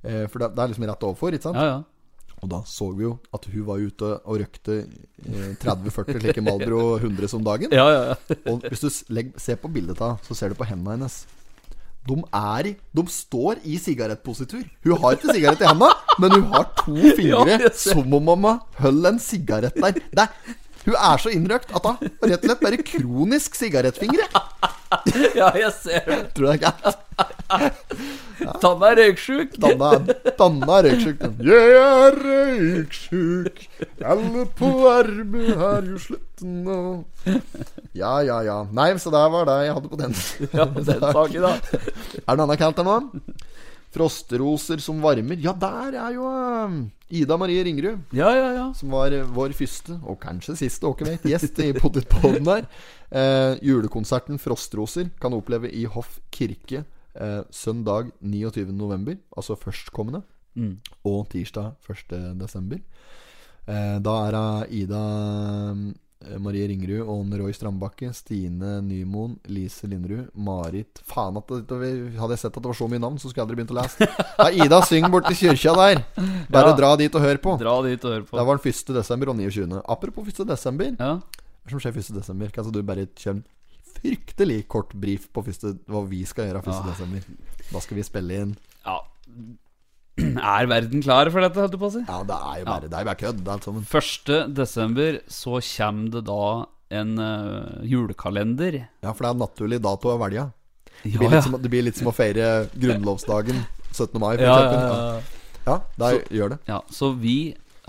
B: eh, For det, det er liksom rett overfor, ikke sant?
A: Ja, ja.
B: Og da så vi jo at hun var ute og røkte eh, 30-40 slike Malbro 100 som dagen.
A: ja, ja, ja.
B: Og hvis du s- legg, ser på bildet av henne, så ser du på hendene hennes. De er i De står i sigarettpositur. Hun har ikke sigarett i henda, men hun har to fingre
A: Ja, jeg ser.
B: som om mamma holder en sigarett der. Det, er- hun er så innrøkt at hun har rett og slett bare kronisk sigarettfingre.
A: ja jeg ser det.
B: Tror jeg ikke er
A: Tanna er røyksjuk.
B: Danna, Danna er røyksjuk. den.
C: Jeg er røyksjuk, alle på arbeid er jo
B: Slutten nå. Ja, ja, ja. Nei, så der var det jeg hadde på den.
A: Ja, den saken, da.
B: Er det noe annet kaldt der nå? Frostroser som varmer. Ja, der er jo eh, Ida Marie Ringerud,
A: Ja, ja, ja.
B: som var eh, vår første, og kanskje siste, åker vet, gjest i Potetpodden der. Eh, julekonserten Frostroser kan du oppleve i Hoff kirke eh, søndag 29. november, altså førstkommende,
A: Mm.
B: og tirsdag 1. desember. Eh, da er det Ida eh, Marie Ringerud, Åne Roy Strandbakke, Stine Nymoen, Lise Linderud, Marit Faen, at det, det- hadde jeg sett at det var så mye navn, så skulle jeg aldri begynt å lese. Da Ida synger borti kirka der. Bare
A: Ja.
B: dra dit og hør på.
A: Dra dit og hør på.
B: Det var den 1. desember og 29. Apropos 1. desember,
A: Ja.
B: hva som skjer 1. desember? Kan altså du bare kjøre en fryktelig kort brief på første, hva vi skal gjøre 1.
A: Ah.
B: desember? Da skal vi spille inn
A: ja. Er verden klar for dette, holdt du på å si?
B: Ja, det er jo bare, det er jo bare kødd. Det er alt sammen.
A: 1. desember så kommer det da en eh, julekalender.
B: Ja, for det er en naturlig dato å velge. Det
A: Ja,
B: blir,
A: ja.
B: litt som, det blir litt som å feire grunnlovsdagen 17. mai, for
A: Ja, ja,
B: eksempel. Ja,
A: ja.
B: ja da gjør det.
A: ja, så vi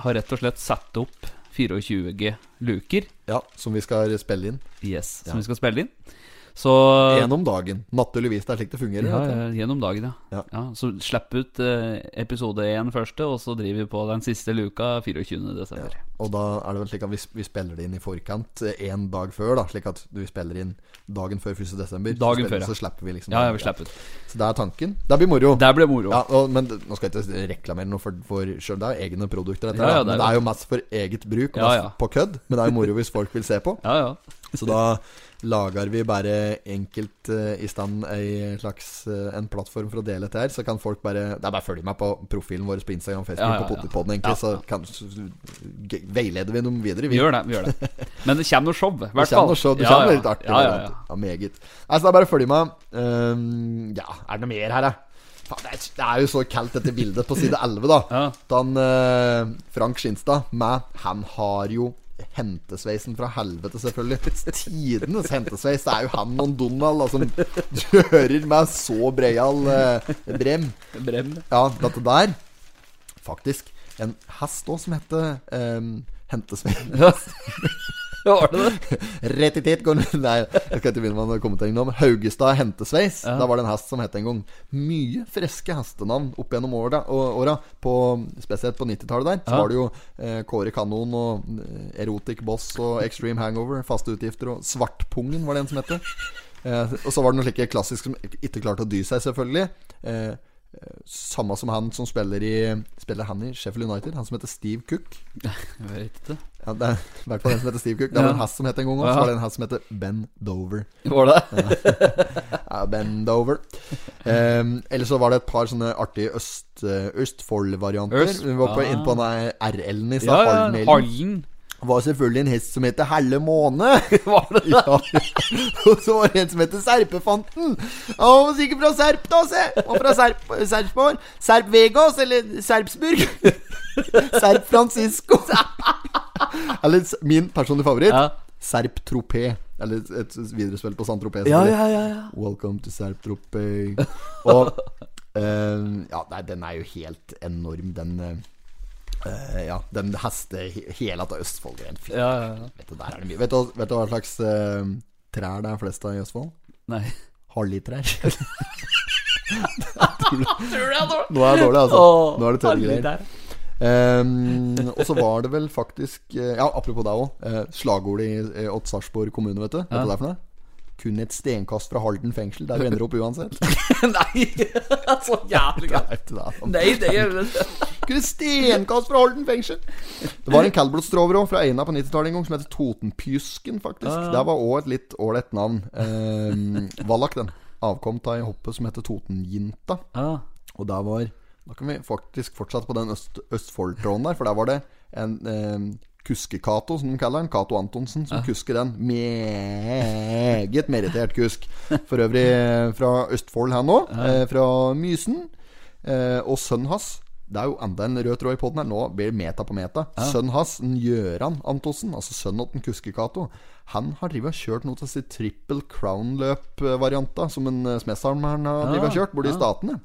A: har rett og slett satt opp 24G luker,
B: Ja, Som vi skal spille inn.
A: yes,
B: Ja.
A: som vi skal spille inn. Så
B: Én om dagen. Naturligvis. Det er slik det fungerer.
A: Ja,
B: vet du.
A: ja, gjennom dagen, ja.
B: Ja.
A: ja. så slipp ut eh, episode 1 første, og så driver vi på den siste luka 24. desember.
B: Og da er det vel slik at vi, vi spiller det inn i forkant én dag før, da. Slik at vi spiller inn dagen før 1. desember.
A: Dagen
B: så, spiller,
A: før, ja.
B: så slipper vi liksom
A: Ja, ja, vi slipper ut.
B: Så det er tanken. Det blir moro.
A: Der ble moro.
B: Ja, og, men det- nå skal jeg ikke reklamere noe for, for selv, det er jo egne produkter. Dette,
A: Ja, ja,
B: her, da.
A: det
B: men
A: er
B: det
A: det.
B: er jo mest for eget bruk, og
A: Ja,
B: mest
A: ja.
B: på kødd. Men det er jo moro hvis folk vil se på.
A: Ja, ja.
B: Så da lager vi bare enkelt eh, i stand ei slags eh, en plattform for å dele dette her. Så kan folk bare Det er bare å følge meg på profilen vår på Instagram og Facebook
A: Ja, ja,
B: på
A: ja.
B: Potipodden,
A: Ja,
B: egentlig. Så, kan, så g- veileder vi dem videre.
A: Vi
B: Vi,
A: gjør det. vi gjør det Men det kommer noe show, i
B: det
A: hvert fall.
B: kommer så, det
A: Ja,
B: kommer
A: ja,
B: litt artig.
A: Ja, ja, ja.
B: varianter. Ja, meget. Nei, så det er bare å følge med. Ehm, ja, er det noe mer her, da? Faen, det er- Det er jo så kaldt, dette bildet på side 11, da.
A: Ja.
B: Dan, eh, Frank Skinstad med Han har jo hentesveisen fra helvete, selvfølgelig. Tidenes hentesveis. Det er jo han og Donald da, som kjører med så breial eh, brem.
A: Brem.
B: Ja, dette der Faktisk en hest òg som heter eh, Hentesveis.
A: Ja. Var det det?
B: Rett i tid går den- Nei, jeg skal ikke begynne med noen kommentering nå, men Haugestad Hentesveis.
A: Ja.
B: Da var det en hest som het en gang. Mye friske hestenavn opp gjennom åra, å- åra på, spesielt på 90-tallet der. Så
A: Ja.
B: var det jo eh, Kåre Kanon og eh, Erotic Boss og Extreme Hangover, faste utgifter, og Svartpungen var det en som het. Eh, og så var det noen slike klassiske som ikke klarte å dy seg, selvfølgelig. Eh, eh, samme som han som spiller i Spiller han i Sheffield United, han som heter Steve Cook.
A: Jeg vet ikke.
B: Ja, det er i hvert fall en som heter Steve Cook. Det var en hest som het en gang òg. Så
A: Ja.
B: var det en hest som heter Ben Dover.
A: Var det?
B: Ja, ben Dover. Um, Eller så var det et par sånne artige øst, eh, Østfold-varianter.
A: Øst-
B: Vi var på,
A: ja.
B: inne på den RL-en i
A: Ja,
B: stad.
A: ja.
B: Hallmailen.
A: Hallen.
B: Var selvfølgelig en hest som heter Helle Måne.
A: Var det det?
B: Ja. Og så var det en som heter Serpefanten. Han var sikkert fra Serp, da, se. Og fra Serp, Serpsborg. Serp Vegas, eller Serpsburg. Serp Francisco. Eller s- min personlige favoritt,
A: Ja.
B: Serp Tropé. Eller et viderespill på San Tropé.
A: Ja, ja, ja. ja.
B: Welcome to Serp Tropé. Og Eh, ja, nei, den er jo helt enorm, den eh, eh, Ja, den heste Hele til Østfold. Rent fint.
A: Ja, ja, ja.
B: Vet, du, der er det mye. Vet, du, vet du hva slags eh, trær det er flest av i Østfold?
A: Nei.
B: Harlitrær. Nå er det dårlig, altså. Nå er det tørre greier. Ehm, og så var det vel faktisk eh, Ja, apropos deg òg. slagordet i eh, Odd Sarpsborg kommune, vet du. Vet du hva det er for noe? Kun et stenkast fra Halden fengsel, der du ender opp uansett.
A: Nei, så jævlig
B: Ja,
A: gøy.
B: vet du det.
A: Nei, det gjør det.
B: Kun et stenkast fra Halden fengsel! Det var en Calbrotstrover òg, fra Eina på 90-tallet en gang, som heter Totenpjusken, faktisk.
A: Ah.
B: Det var òg et litt ålreit navn. Um, Vallak, den. Avkom av ei hoppe som heter Totenjinta.
A: Ah,
B: Og der var Da kan vi faktisk fortsette på den øst, Østfold-tråden der, for der var det en eh, Kuske-Cato, som de kaller den. Cato Antonsen som kusker den. Meget merittert kusk. For øvrig eh, fra Østfold, han òg. Eh, fra Mysen. Eh, og sønnen hans det er jo enda en rød tråd i poden her. Nå blir det meta på meta. Sønnen hans, en Gjøran Antonsen, altså sønnen til Kuske-Cato, han har drivet og kjørt noe av sitt triple crown-løp-varianta, som en eh, Smesholm har drivet og kjørt, borte i Statene.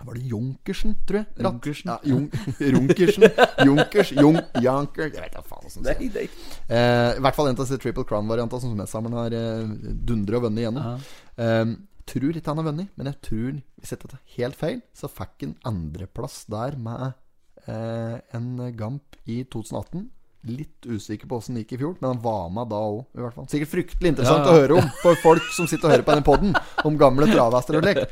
B: Var det Junkersen, tror jeg? Ratt.
A: Junkersen?
B: Ja, Jun Runkersen. Junkers. Jun Janker Jeg vet da faen hvordan det
A: nei, nei.
B: Eh, I hvert fall en av disse Triple Crown-variantene som Messhammeren har eh, dundret og vunnet igjennom. Eh, tror ikke han har vunnet, men jeg tror, hvis jeg tar det helt feil, så fikk han andreplass der med eh, en Gamp i 2018. Litt usikker på åssen det gikk i fjor, men han var med da òg, i hvert fall. Sikkert fryktelig interessant
A: Ja, ja.
B: å høre om for folk som sitter og hører på denne poden, om gamle travhester og lek.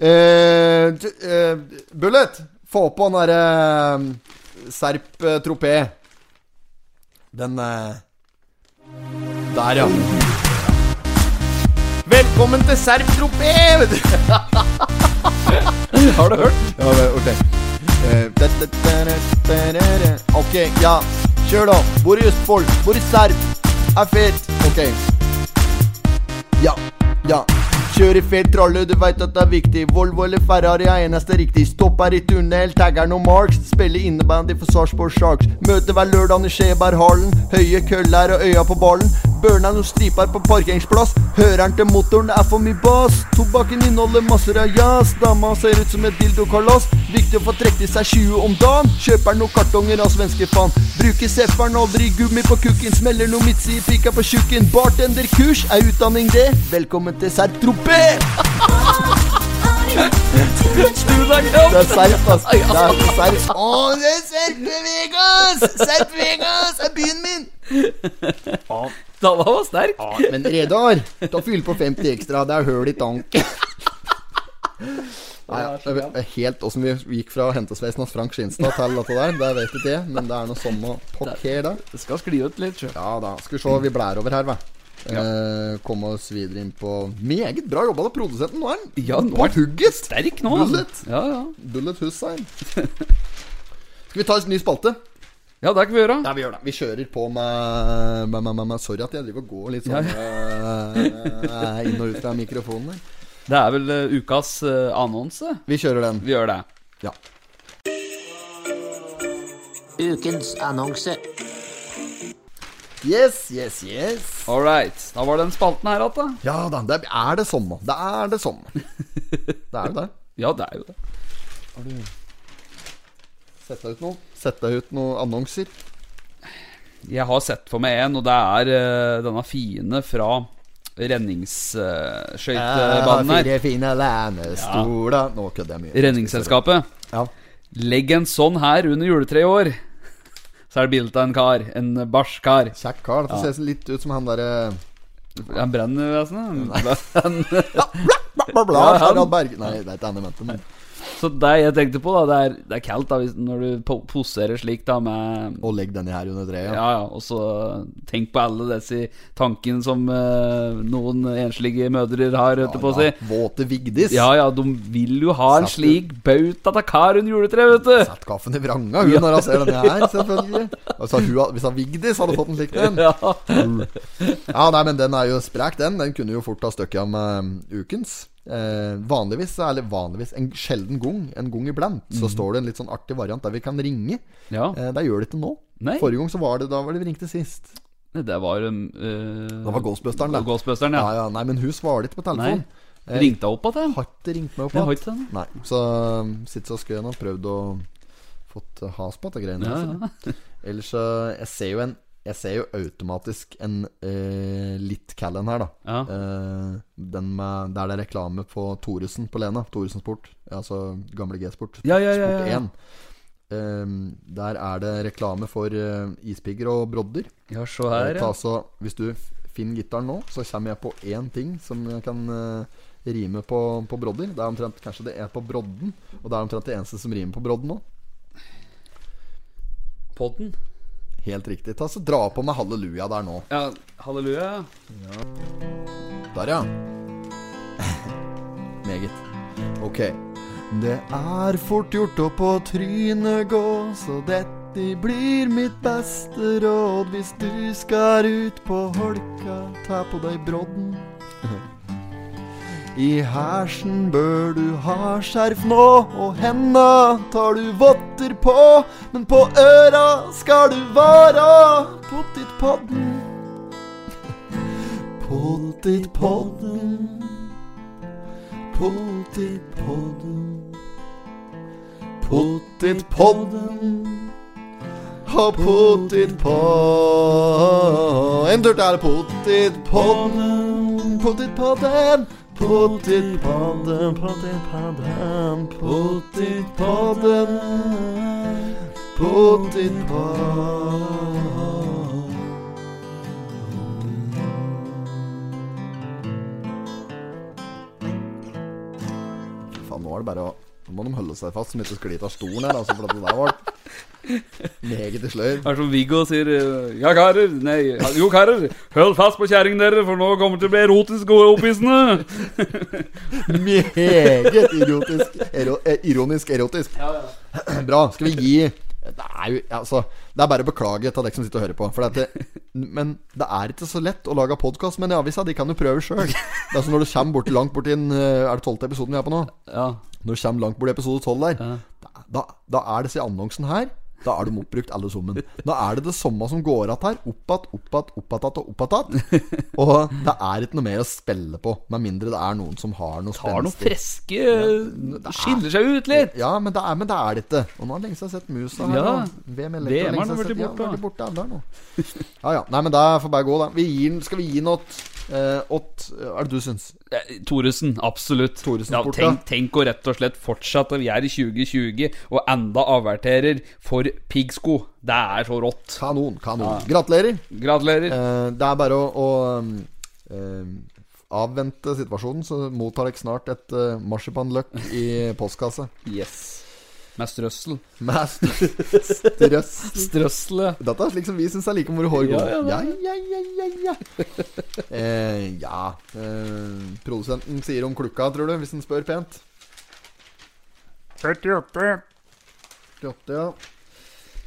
B: Eh, du- eh, Bullet, få på den derre eh, Serp eh, tropé. Den eh, Der, ja. Velkommen til Serp tropé! vet du.
A: Har du hørt?
B: Ja, vel, ok. Eh, da, da, da, da, da, da, da. Ok, ja. Kjør, da. Hvor i Østfold? Hvor i Serp? Er fet. Ok. Ja, ja. Kjør i fet tralle, du veit at det er viktig. Volvo eller Ferrari er eneste riktig. Stopper i tunnel, tagger noen marks. Spiller innebandy for Sarpsborg Sharks. Møter hver lørdag i Skjeberghallen. Høye køller og øya på ballen. Børna noen striper på parkeringsplass. Høreren til motoren er for mye bass. Tobakken inneholder masser av jazz. Dama ser ut som et dildokalass. Viktig å få trukket i seg 20 om dagen. Kjøper noen kartonger av svenske fan. Bruker Zephyr'n, aldri gummi på kukken. Smeller noe midtsi i pika på tjukken. Bartenderkurs er utdanning, det. Velkommen til Serp Tropé!
A: Du da, Kram?
B: Det er Serp, ass. Det er Serp. Å, det er Serp Vegas! Serp Vegas er byen min!
A: Da var han sterk.
B: Men Redar, ta fyll på 50 ekstra. Det er høl i tank. Nei, jeg vet helt åssen vi gikk fra hentesveisen hans Frank Skinstad til dette der, det vet ikke jeg, men det er noe samme pokker der.
A: Det skal skli ut litt, sjø.
B: Ja da. Skal vi se, vi blær over her, hva. Eh, komme oss videre inn på Meget bra jobba av produsenten. Nå er han
A: Ja, nå
B: på
A: er han
B: hugget!
A: Sterk nå.
B: Bullet.
A: Altså. Ja, ja.
B: Bullet Hussein. Skal vi ta en ny spalte?
A: ja, det kan vi gjøre.
B: Ja, vi gjør det. Vi kjører på med, med, med, med, med Sorry at jeg driver og går litt sånn eh, inn og ut fra mikrofonen. her.
A: Det er vel eh, ukas eh, annonse.
B: Vi kjører den.
A: Vi gjør det.
B: Ja.
G: Ukens annonse.
B: Yes, yes, yes.
A: All right. Da var den spalten her igjen, da.
B: Ja da. Det er det samme. Det er det samme. Det er jo det.
A: Ja, det er jo det.
B: Sett deg ut noe. Sett deg ut noen annonser.
A: Jeg har sett for meg en, og det er eh, denne fine fra
B: eh,
A: redningsskøytebanen her.
B: Fire fine lænestoler Nå kødder jeg mye.
A: Redningsselskapet.
B: Ja.
A: Legg en sånn her under juletreet i år. Så er det bilde av en kar. En barsk kar.
B: Kjekk kar. Dette ser litt ut som han eh, derre
A: Han brenner vesenet.
B: Bla, bla,
A: Ja, han.
B: Harald Berg... Nei, det er ikke han jeg mente, men
A: Så det jeg tenkte på, da, det er, det er kaldt da, hvis, når du po- poserer slik da med
B: Og legg denne her under treet. Ja.
A: ja, ja, og så tenk på alle disse tankene som eh, noen enslige mødre har, holdt jeg på å si.
B: Ja, Våte Vigdis.
A: Ja, ja, de vil jo ha en
B: Satt du-
A: slik bauta av kar under juletreet, vet du.
B: Satt kaffen i vranga, hun, når hun ser denne her, selvfølgelig. Altså, hun, had- hvis han Vigdis hadde fått en slik en.
A: Ja.
B: Ja, nei, men den er jo sprek, den. Den kunne jo fort ha støkket om eh, ukens. Eh, vanligvis, eller vanligvis, en sjelden gang, en gang iblant, så står det en litt sånn artig variant der vi kan ringe.
A: ja.
B: Eh, det gjør det ikke nå.
A: Nei.
B: Forrige gang så var det da var det vi ringte sist.
A: Det var um, eh,
B: Da var Ghostbusteren, det.
A: Ghostbusteren,
B: Ja,
A: ja.
B: ja, nei, men hun svarer ikke på telefonen.
A: Ringte jeg opp igjen?
B: Har ikke ringt meg opp
A: Jeg har
B: igjen.
A: ikke den.
B: Nei. Så um, sitter så skulle jeg nå prøvd å fått uh, has på dette greiene.
A: Ja,
B: altså.
A: ja.
B: Ellers uh, jeg ser jo en Jeg ser jo automatisk en eh, litt Callen her, da.
A: Ja.
B: Eh, den med, der det er reklame på Thoresen på Lena. Thoresen Sport. Altså gamle G-Sport.
A: Ja, ja, ja, ja, ja.
B: Sport 1. Eh, der er det reklame for eh, ispigger og brodder.
A: ja, se her. Ja.
B: Ta så, altså, hvis du f- finner gitaren nå, så kommer jeg på én ting som jeg kan eh, rime på, på brodder. Det er omtrent kanskje det er på brodden, og det er omtrent det eneste som rimer på brodden nå.
A: Podden.
B: Helt riktig. Ta så Dra på med halleluja der nå.
A: Ja, halleluja.
B: Der, ja. Meget. Ok. Det er fort gjort å på trynet gå, så dette blir mitt beste råd. Hvis du skal ut på holka, ta på deg brodden. I hersen bør du ha skjerf nå, og henda tar du votter på. Men på øra skal du vara pottitpodden. Pottitpodden. Pottitpodden. Pottitpodden. Og pottitpodden. En tur til pottitpodden. Pottitpodden. Pottitpodden, pottitpodden, pottitpodden. Pottitpodden. Faen, nå er det bare å Nå må de holde seg fast, så de ikke sklir av stolen her. Altså, for at det der var meget i slør.
A: Det er som Viggo sier eh, Ja, karer. Nei, jo, karer. Hold fast på kjerringa deres, for nå kommer det til å bli erotisk og opphissende.
B: Meget idiotisk. Ero, eh, ironisk erotisk. Bra. Skal vi gi Det er jo altså Det er bare å beklage til dere som sitter og hører på. For det, at det- men det er ikke så lett å lage podkast. Men i avisa, de kan jo prøve sjøl. Det er som når du kommer bort, langt borti den eh, Er det tolvte episoden vi er på nå?
A: Ja.
B: Når du kommer langt borti episode 12 der, da, da, da er disse annonsen her Da er de oppbrukt alle sammen. Da er det det samme som går att her. Opp att, opp att, opp att og opp att. Og det er ikke noe mer å spille på, med mindre det er noen som har noe
A: Har noe
B: spenstig.
A: freske Skiller seg ut litt.
B: Ja, men det er, men det er det ikke. Og nå har jeg lenge siden sett musa her.
A: Ja.
B: nå. VM er
A: VM
B: lenge
A: har den
B: siden
A: vært borte,
B: sett- Ja,
A: da.
B: vært borte alle her nå. Ja, ja. Nei, men det får bare gå, da. Vi gir den, skal vi gi den åt eh, åt Hva er det du syns?
A: Eh, Thoresen, absolutt.
B: Thoresen
A: ja,
B: sport,
A: tenk, tenk å rett og slett fortsette. Vi er i 2020 og enda averterer for piggsko. Det er så rått.
B: Kanon, kanon. Gratulerer.
A: Gratulerer.
B: Eh, det er bare å, å um, eh, avvente situasjonen, så mottar dere snart et eh, marsipanløk i postkasse.
A: Yes. Med strøssel.
B: Med strøss.
A: Strøsselet.
B: Dette er slik som vi syns er like moro hår går.
A: Ja,
B: Ja, ja, ja, ja, ja. eh, ja. Eh, produsenten sier om klukka, tror du, hvis han spør pent.
F: 48.
B: 48, ja.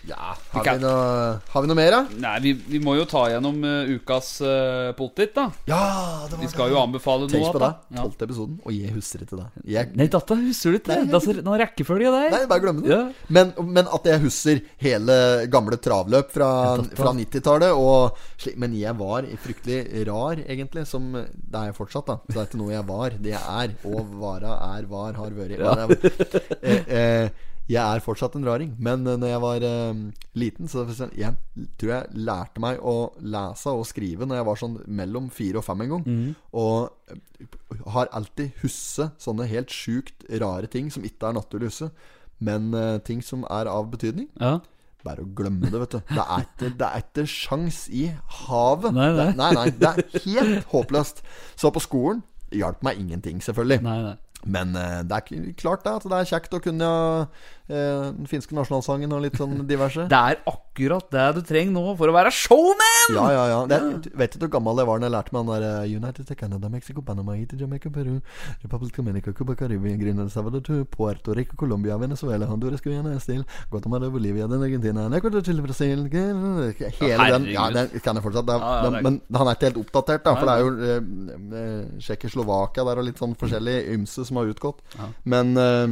B: Ja, har
A: Ikke-
B: vi, noe, har vi noe mer, da?
A: Nei, vi, vi må jo ta gjennom eh, ukas uh, potet, da.
B: Ja, det
A: Vi skal jo anbefale
B: Tenk
A: noe.
B: på det.
A: da. Ja.
B: Tolvte episoden, og jeg husker ikke det. Jeg,
A: Nei, dette husker du ikke.
B: Nei, jeg-
A: Dette er noen rekkefølge der.
B: nei, bare glemme det.
A: Ja.
B: Men, men at jeg husker hele gamle travløp fra, fra 90-tallet. og sli- Men jeg var fryktelig rar, egentlig. Som eh, det er jeg fortsatt, da. Det er ikke noe jeg var. Det jeg er. Og vara er, var, har vært. Var jeg, eh, eh, jeg er fortsatt en raring, men eh, når jeg var eh, liten, så så- jeg tror jeg lærte meg å lese og skrive når jeg var sånn mellom fire og fem en gang. Og eh, har alltid husset sånne helt sjukt rare ting som ikke er naturlig husse. Men eh, ting som er av betydning.
A: Ja.
B: Bare å glemme det, vet du. Det er ikke, det er ikke sjans i havet.
A: Nei, nei.
B: Det, nei, nei, det er helt håpløst. Så på skolen hjalp meg ingenting, selvfølgelig.
A: Nei, nei.
B: Men eh, det er k- klart det at det er kjekt å kunne eh, den finske nasjonalsangen og litt sånn diverse.
A: Det er akkurat det du trenger nå for å være showman!
B: Ja, ja, ja. Det, du vet ikke hvor gammel jeg var da jeg lærte meg den der eh, United to Canada, Mexico, Panama, Haiti, Jamaica, Peru, Republic Dominica, Cuba, Caribbean, Grenada, Salvador, Puerto Rico, Colombia, Venezuela, Honduras, Guyana, Estil, Guatemala, Bolivia, den Argentina, Ecuador, Chile, Brasil Hele den. Ja,
A: Herregud.
B: den kan jeg fortsatt. Det er,
A: Ja, ja,
B: den-
A: det er-
B: men han er ikke helt oppdatert, da. For det er jo eh, eh, Tsjekkoslovakia der og litt
A: Mm.
B: sånn forskjellig ymse som har utgått. Men eh,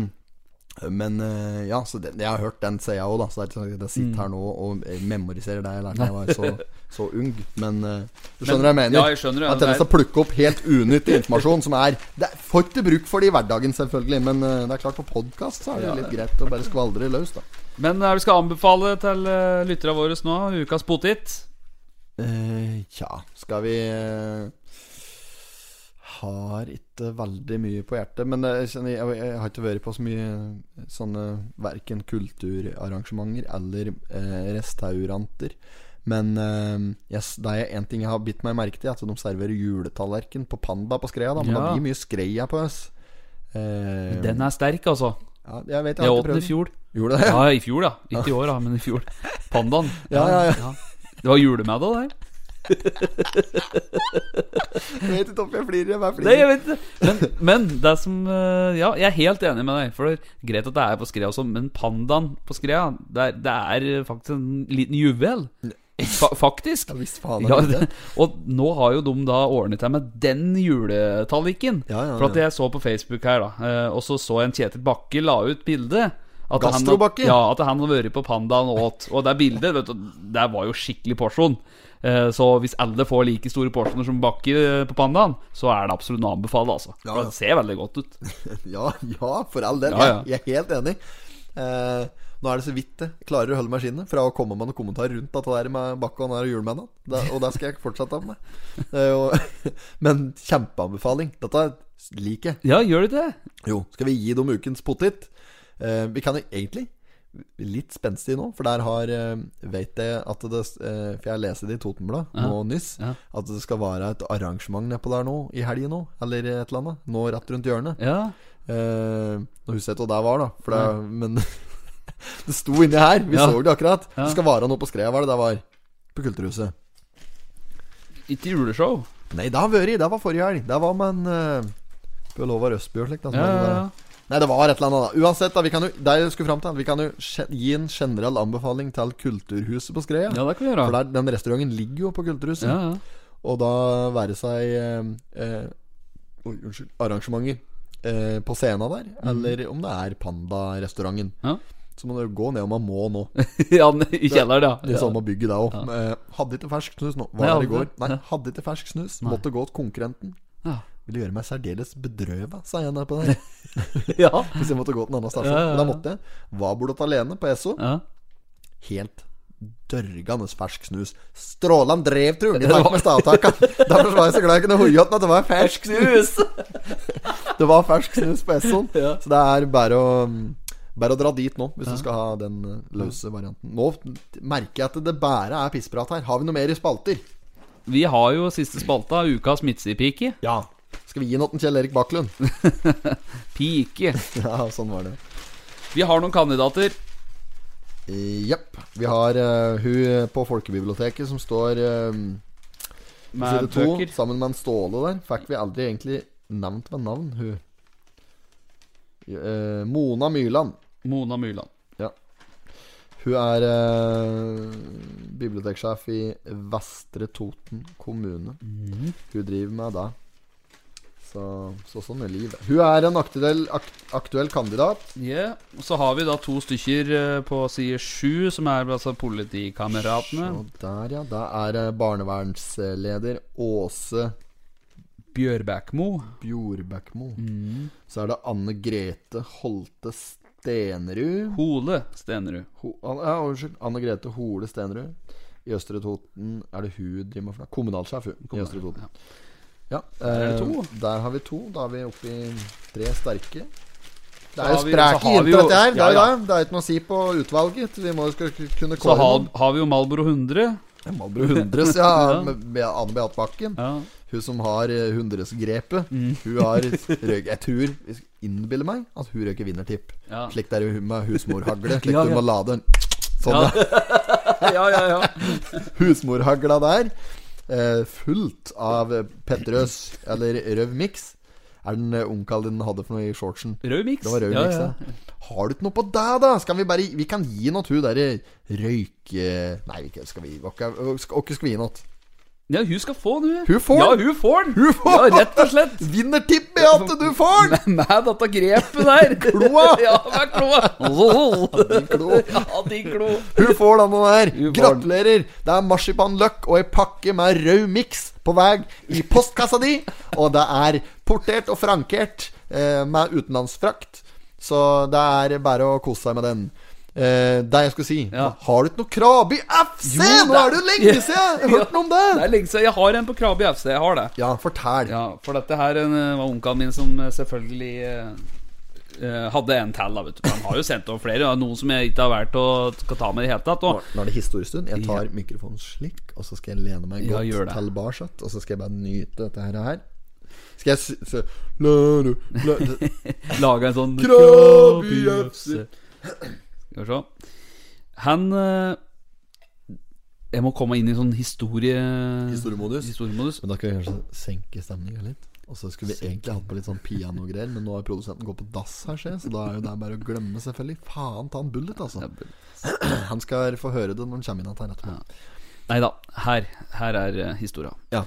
B: men eh, ja, så det, jeg har hørt den, ser jeg òg, da. Så det er ikke sånn at jeg sitter her nå og memoriserer det jeg lærte da jeg var så, så ung. Men eh, du skjønner hva jeg mener?
A: Ja, jeg skjønner det.
B: Jeg har tendens til å plukke opp helt unyttig informasjon som er Det er får ikke bruk for det i hverdagen, selvfølgelig, men eh, det er klart på podkast så er det
A: Ja,
B: litt greit å bare skvaldre løs, da.
A: Men eh, vi skal anbefale til uh, lytterne våre nå ukas potet.
B: Eh, Tja, skal vi eh, Har ikke veldig mye på hjertet. Men jeg, kjenner, jeg, jeg har ikke vært på så mye eh, sånne verken kulturarrangementer eller eh, restauranter. Men eh, jeg s- det er en ting jeg har bitt meg merke til, at de serverer juletallerken på Panda på Skreia. Da. Men
A: Ja.
B: det blir mye Skreia på oss. Eh,
A: Den er sterk, altså.
B: ja, jeg vet jeg
A: Jeg
B: har
A: åt
B: ikke
A: den i
B: prøvd den.
A: fjor.
B: Gjorde det?
A: Ja, i fjor, ja. Ikke i år, da, men i fjor. Pandaen.
B: Ja, ja, ja.
A: Det var julemiddag, det.
B: Jeg vet ikke om jeg flirer. Jeg bare
A: Nei,
B: flirer.
A: jeg vet ikke. Men, men det som eh, Ja, jeg er helt enig med deg. For det er greit at det er på Skrea også, men pandaen på Skrea, det er, det er faktisk en liten juvel. Fa faktisk.
B: Ja, visst faen er
A: Ja,
B: det det.
A: og nå har jo de da ordnet seg med den juletalliken.
B: Ja, ja,
A: For at
B: ja.
A: jeg så på Facebook her, da, eh, og så så en Kjetil Bakke la ut bilde. At han-
B: Gastrobakke?
A: Ja, at han hadde vært på Pandaen og åt. Og det bildet, vet du, det var jo skikkelig porsjon. Eh, Så hvis alle får like store porsjoner som Bakke eh, på Pandaen, så er det absolutt noe å anbefale, altså.
B: Ja,
A: For
B: ja.
A: det ser veldig godt ut.
B: Ja, ja, for all del.
A: Ja, ja.
B: Jeg, jeg er helt enig. Eh, nå er det så vidt jeg klarer å holde meg i skinnet fra å komme med noen kommentarer rundt dette der med Bakke og han her og julemennene. Det- Og det skal jeg fortsette med. Det er jo- men kjempeanbefaling. Dette liker jeg.
A: Ja, gjør det det?
B: Jo, skal vi gi dem ukens potet? Eh, vi kan jo egentlig Litt spenstig nå, for der har eh, Vet jeg at det eh, For jeg leste det i Totenbladet nå nyss.
A: ja.
B: At det skal være et arrangement nedpå der nå i helgen nå, eller et eller annet. Nå rett rundt hjørnet.
A: Ja.
B: Eh, Nå husker jeg ikke hva det var, da. For det, Men det sto inni her. Vi
A: Ja.
B: så det akkurat.
A: Ja.
B: Det skal være noe på skreia, hva er det der var? På Kulturhuset.
A: Ikke juleshow.
B: Nei, det har vært. Det var forrige helg. Det var med en eh, Bjørn Håvard Østby og slikt. da, som
A: Ja,
B: hadde
A: ja,
B: det.
A: ja.
B: Nei, det var et eller annet, da. Uansett, da. Vi kan jo, det jeg skulle fram til, vi kan jo gen- gi en generell anbefaling til Kulturhuset på Skreia.
A: ja, det kan vi
B: For
A: gjøre.
B: der, den restauranten ligger jo på Kulturhuset.
A: Ja, ja.
B: Og da være seg eh, eh, oi, Unnskyld. Arrangementer eh, på scenen der, eller om det er Panda-restauranten.
A: Mm. Ja.
B: Så må du gå ned om man må nå.
A: ja, I kjelleren,
B: Det
A: ja.
B: samme bygget der òg. Hadde ikke fersk snus nå.
A: Nei,
B: Var der i
A: hadde
B: går.
A: det.
B: Nei,
A: Ja.
B: hadde ikke fersk snus. Måtte gå til konkurrenten.
A: Ja.
B: Ville gjøre meg særdeles bedrøva, sa jeg der på der.
A: Ja.
B: Hvis jeg måtte gå til en annen stasjon.
A: Ja, ja, ja.
B: Men da måtte jeg. Var bortåt alene på Esso.
A: ja.
B: Helt dørgende fersk snus. Strålan drev trulig bak med stavtakene. Derfor var jeg så glad jeg kunne hoie opp med at det var fersk snus. Det var fersk snus på Essoen.
A: Ja.
B: Så det er bare å bare å dra dit nå, hvis du skal ha den eh, løse varianten. Nå merker jeg at det bare er pissprat her. Har vi noe mer i spalter?
A: Vi har jo siste spalta, ukas midtsidepike.
B: Ja. Skal vi gi noe til Kjell Erik Baklund?
A: Pike.
B: Ja, sånn var det.
A: Vi har noen kandidater.
B: Jepp. Vi har eh, hun på folkebiblioteket som står eh, På
A: Med
B: side to,
A: bøker.
B: sammen med en Ståle der, fikk vi aldri egentlig nevnt ved navn, hun. Eh, Mona Myrland.
A: Mona Myrland.
B: Hun er eh, biblioteksjef i Vestre Toten kommune.
A: Mm.
B: Hun driver med det. Så, så sånn er livet. Hun er en aktuell, ak aktuell kandidat.
A: Ja, og Så har vi da to stykker eh, på side sju, som er altså politikameratene.
B: Og der, ja. Der er eh, barnevernsleder Åse
A: Bjørbækmo.
B: Bjorbækmo.
A: Mm.
B: Så er det Anne Grete Holte Stenerud.
A: Hole Stenerud.
B: Ho An- ja, unnskyld. Anne Grete Hole Stenerud. I Østre Toten Er det hun driver med for noe? Kommunalsjef, hun. I Østre Toten. Ja.
A: Der er det to.
B: eh, Der har vi to. Da er vi oppe i tre sterke. Det er
A: har vi-
B: jo
A: så
B: spreke
A: har vi
B: jenter,
A: jo-
B: dette her. Det
A: Ja,
B: er jo
A: ja.
B: det. Det er ikke noe å si på utvalget. Vi må jo skal kunne
A: Så
B: kåre
A: har,
B: noen.
A: har vi jo Malboro 100.
B: Ja, Malbro Hundres, ja.
A: Ja.
B: med- med Anne Beate Bakken.
A: Ja.
B: Hun som har eh, hundresgrepet.
A: Mm.
B: Hun har røyk Jeg tror, jeg innbiller meg, at hun røyker vinnertipp.
A: Ja.
B: Slik det er jo med husmorhagle. Slik
A: Ja,
B: du
A: ja.
B: må lade den Sånn, ja.
A: Ja. ja, ja, ja.
B: Husmorhagla der. Eh, fullt av Petterøes, eller Røv Mix. Er den eh, onkelen din hadde for noe i shortsen?
A: Rød miks.
B: Det var Røv
A: ja,
B: Mix,
A: ja.
B: ja. Har du ikke noe på deg, da? Skal vi bare Vi kan gi noe til hun derre røyke... Nei, vi kan- skal vi Åkke skal, åkke skal vi gi noe?
A: Ja, hun skal få den, hun.
B: Hun får
A: Ja,
B: den.
A: hun får den.
B: Hun får
A: Ja, rett og slett.
B: Vinnertippet at du får den!
A: Med dette grepet der.
B: Kloa.
A: ja, med kloa.
B: Klo.
A: ja, de klo.
B: Hun får denne her.
A: Hun får den.
B: Gratulerer. Det er marsipanløk og ei pakke med rød miks på vei i postkassa di. Og det er portert og frankert eh, med utenlandsfrakt. Så det er bare å kose seg med den. Eh, det jeg skulle si
A: Ja.
B: Har du ikke noe Krabi FC?
A: Jo,
B: Nå
A: det-
B: er det jo lenge siden jeg har hørt noe om
A: Det
B: det!
A: er lenge siden. Jeg har en på Krabi FC. Jeg har det.
B: Ja, fortell.
A: Ja, for dette her eh, var onkelen min som eh, selvfølgelig eh, eh, hadde en til, da, vet du. Han har jo sendt over flere. og Noen som jeg ikke har valgt å skal ta med i det hele tatt. Og,
B: Nå nå er det historiestund. Jeg tar mikrofonen slik, og så skal jeg lene meg
A: Ja,
B: godt
A: gjør det.
B: tilbake. Og så skal jeg bare nyte dette her. her. Skal jeg sy... sy- la- la- la-
A: Laga en sånn
B: Krabi FC.
A: Skal vi se. Han eh, Jeg må komme inn i sånn historie...
B: Historiemodus.
A: historiemodus.
B: Men da kan vi kanskje senke stemninga litt. Og så skulle vi egentlig hatt på litt sånn pianogreier, men nå har produsenten gått på dass her, ser jeg, så da er jo det bare å glemme, selvfølgelig. Faen ta en bullet, altså. Han skal få høre det når han kommer inn igjen her etterpå.
A: Nei da, her, her er eh, historia.
B: Ja.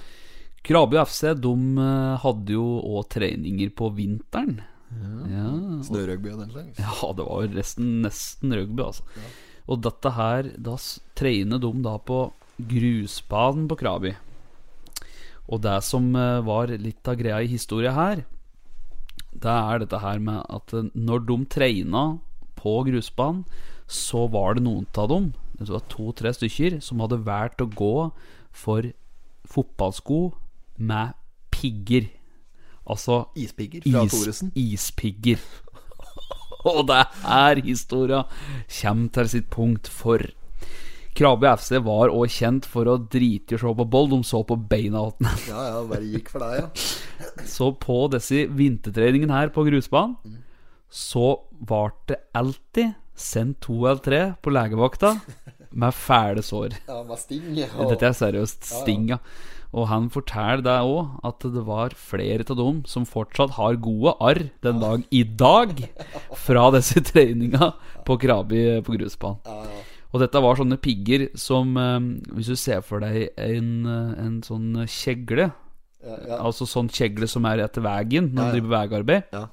A: Krabi FC de eh, hadde jo òg treninger på vinteren. Ja.
B: Snørøgby og den slags.
A: ja, det var jo resten nesten rugby, altså. Og dette her Da s- trener de da på grusbanen på Krabi. Og det som eh, var litt av greia i historia her, det er dette her med at eh, når de treina på grusbanen, så var det noen av dem, det var to-tre stykker, som hadde valgt å gå for fotballsko med pigger. Altså
B: Ispigger fra Thoresen.
A: Ispigger. Og det er her historia kommer til sitt punkt for. Krabi FC var også kjent for å drite i å se på boll. De så på beina åtten.
B: Ja ja, bare gikk for deg, ja.
A: Så på disse vintertreningene her på grusbanen, så ble det alltid sendt to eller tre på legevakta med fæle sår.
B: Ja, Med sting. Og...
A: Dette er seriøst stinga. Og han forteller deg òg at det var flere av dem som fortsatt har gode arr den dag i dag fra disse treninga på Krabi på grusbanen. Og dette var sånne pigger som eh, Hvis du ser for deg en, eh, en sånn kjegle
B: Ja, ja.
A: Altså sånn kjegle som er etter veien når
B: Ja, ja.
A: du driver vegarbeid.
B: Ja.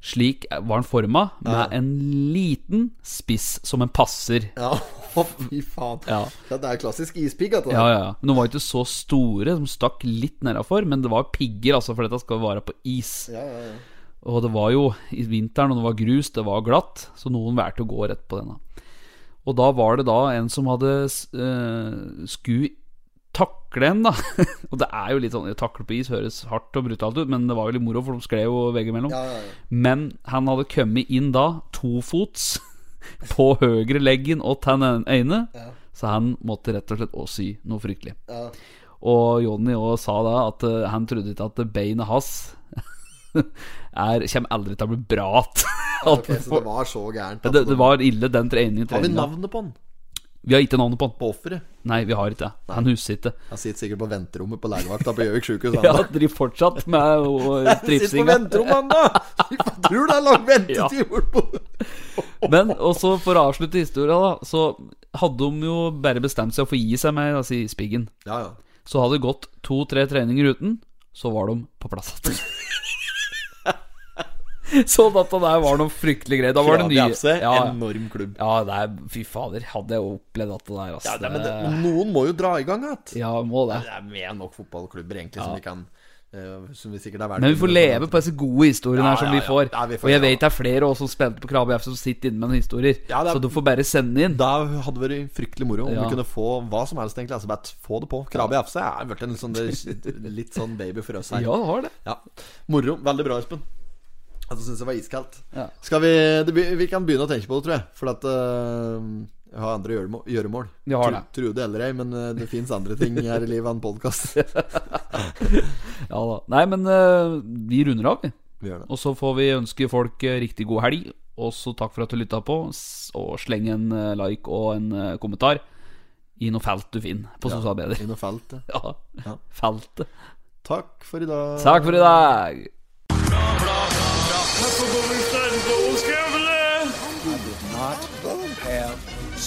A: Slik var den forma, med
B: Ja.
A: en liten spiss som en passer.
B: Ja, å, fy faen.
A: Ja.
B: Ja, det er klassisk ispigg, at det
A: Ja, ja, ja. Men de var ikke så store, de stakk litt nedafor, men det var pigger, altså, for dette skal være på is.
B: Ja, ja, ja.
A: Og det var jo i vinteren, og det var grus, det var glatt, så noen valgte å gå rett på denne. Og da var det da en som hadde uh, skulle takle en, da. og det er jo litt sånn Takle på is høres hardt og brutalt ut, men det var jo litt moro, for de skled jo veggimellom.
B: Ja, ja, ja.
A: Men han hadde kommet inn da, tofots, på høyre leggen og tann øyne, så han måtte rett og slett også sy noe fryktelig.
B: Ja.
A: Og Jonny òg sa da at eh, han trodde ikke at beinet hans er, kommer aldri til å bli bra igjen. At
B: Ok, så det var så gærent. at
A: det, det var ille, den treningen.
B: Har vi
A: treningen.
B: navnet på han?
A: Vi har ikke navnet på han.
B: På offeret?
A: Nei, vi har ikke det. Han husker ikke.
B: Han sitter sikkert på venterommet på legevakta på Gjøvik sjukehus.
A: Ja, driver fortsatt med å- tripsinga.
B: venterommet, da! Tror det er lang ventetid bortpå
A: Men og så for å avslutte historia, da, så hadde de jo bare bestemt seg for å gi seg med altså, ispiggen.
B: Ja, ja.
A: Så hadde det gått to-tre treninger uten, så var de på plass igjen. så dette der var noe fryktelig greit. Da var det nye.
B: Krabi FC,
A: Ja, ja.
B: enorm klubb.
A: ja det er, fy fader, hadde jeg opplevd dette der, altså.
B: Ja, nei, men, det, men noen må jo dra i gang igjen.
A: ja, må det.
B: Det er mer enn nok fotballklubber egentlig som vi kan eh, Som vi sikkert er verdt
A: Men vi får leve på disse gode historiene
B: Ja,
A: her som
B: ja,
A: vi
B: ja.
A: får.
B: Ja, vi får
A: Og jeg
B: gjøre det.
A: vet det er flere også som spilte på Krabi FC som sitter inne med noen historier.
B: Ja, det er-
A: Så du får bare sende inn.
B: Da hadde det vært fryktelig moro om
A: Ja.
B: vi kunne få hva som helst, egentlig. Altså bare få det på. Krabi FC er blitt en sånn, litt sånn baby for oss her.
A: Ja, det har det.
B: Ja. Moro. Veldig bra, Espen. Altså, syns det var iskaldt.
A: Ja.
B: Skal vi det, be- Vi kan begynne å tenke på det, tror jeg. For at øh, jeg har andre gjøremo- gjøremål.
A: Vi har
B: Tru- Trude eller ei, men øh, det fins andre ting her i livet enn podkast.
A: Ja da. Nei, men eh, vi runder av, vi.
B: Vi gjør det.
A: Og så får vi ønske folk eh, riktig god helg. Og så takk for at du lytta på. S- Og sleng en eh, like og en eh, kommentar i noe felt du finner på sosiale medier.
B: I noe felt. ja.
A: Ja.
B: Ja.
A: Feltet.
B: Takk for i dag.
A: Takk for i dag.
D: Not have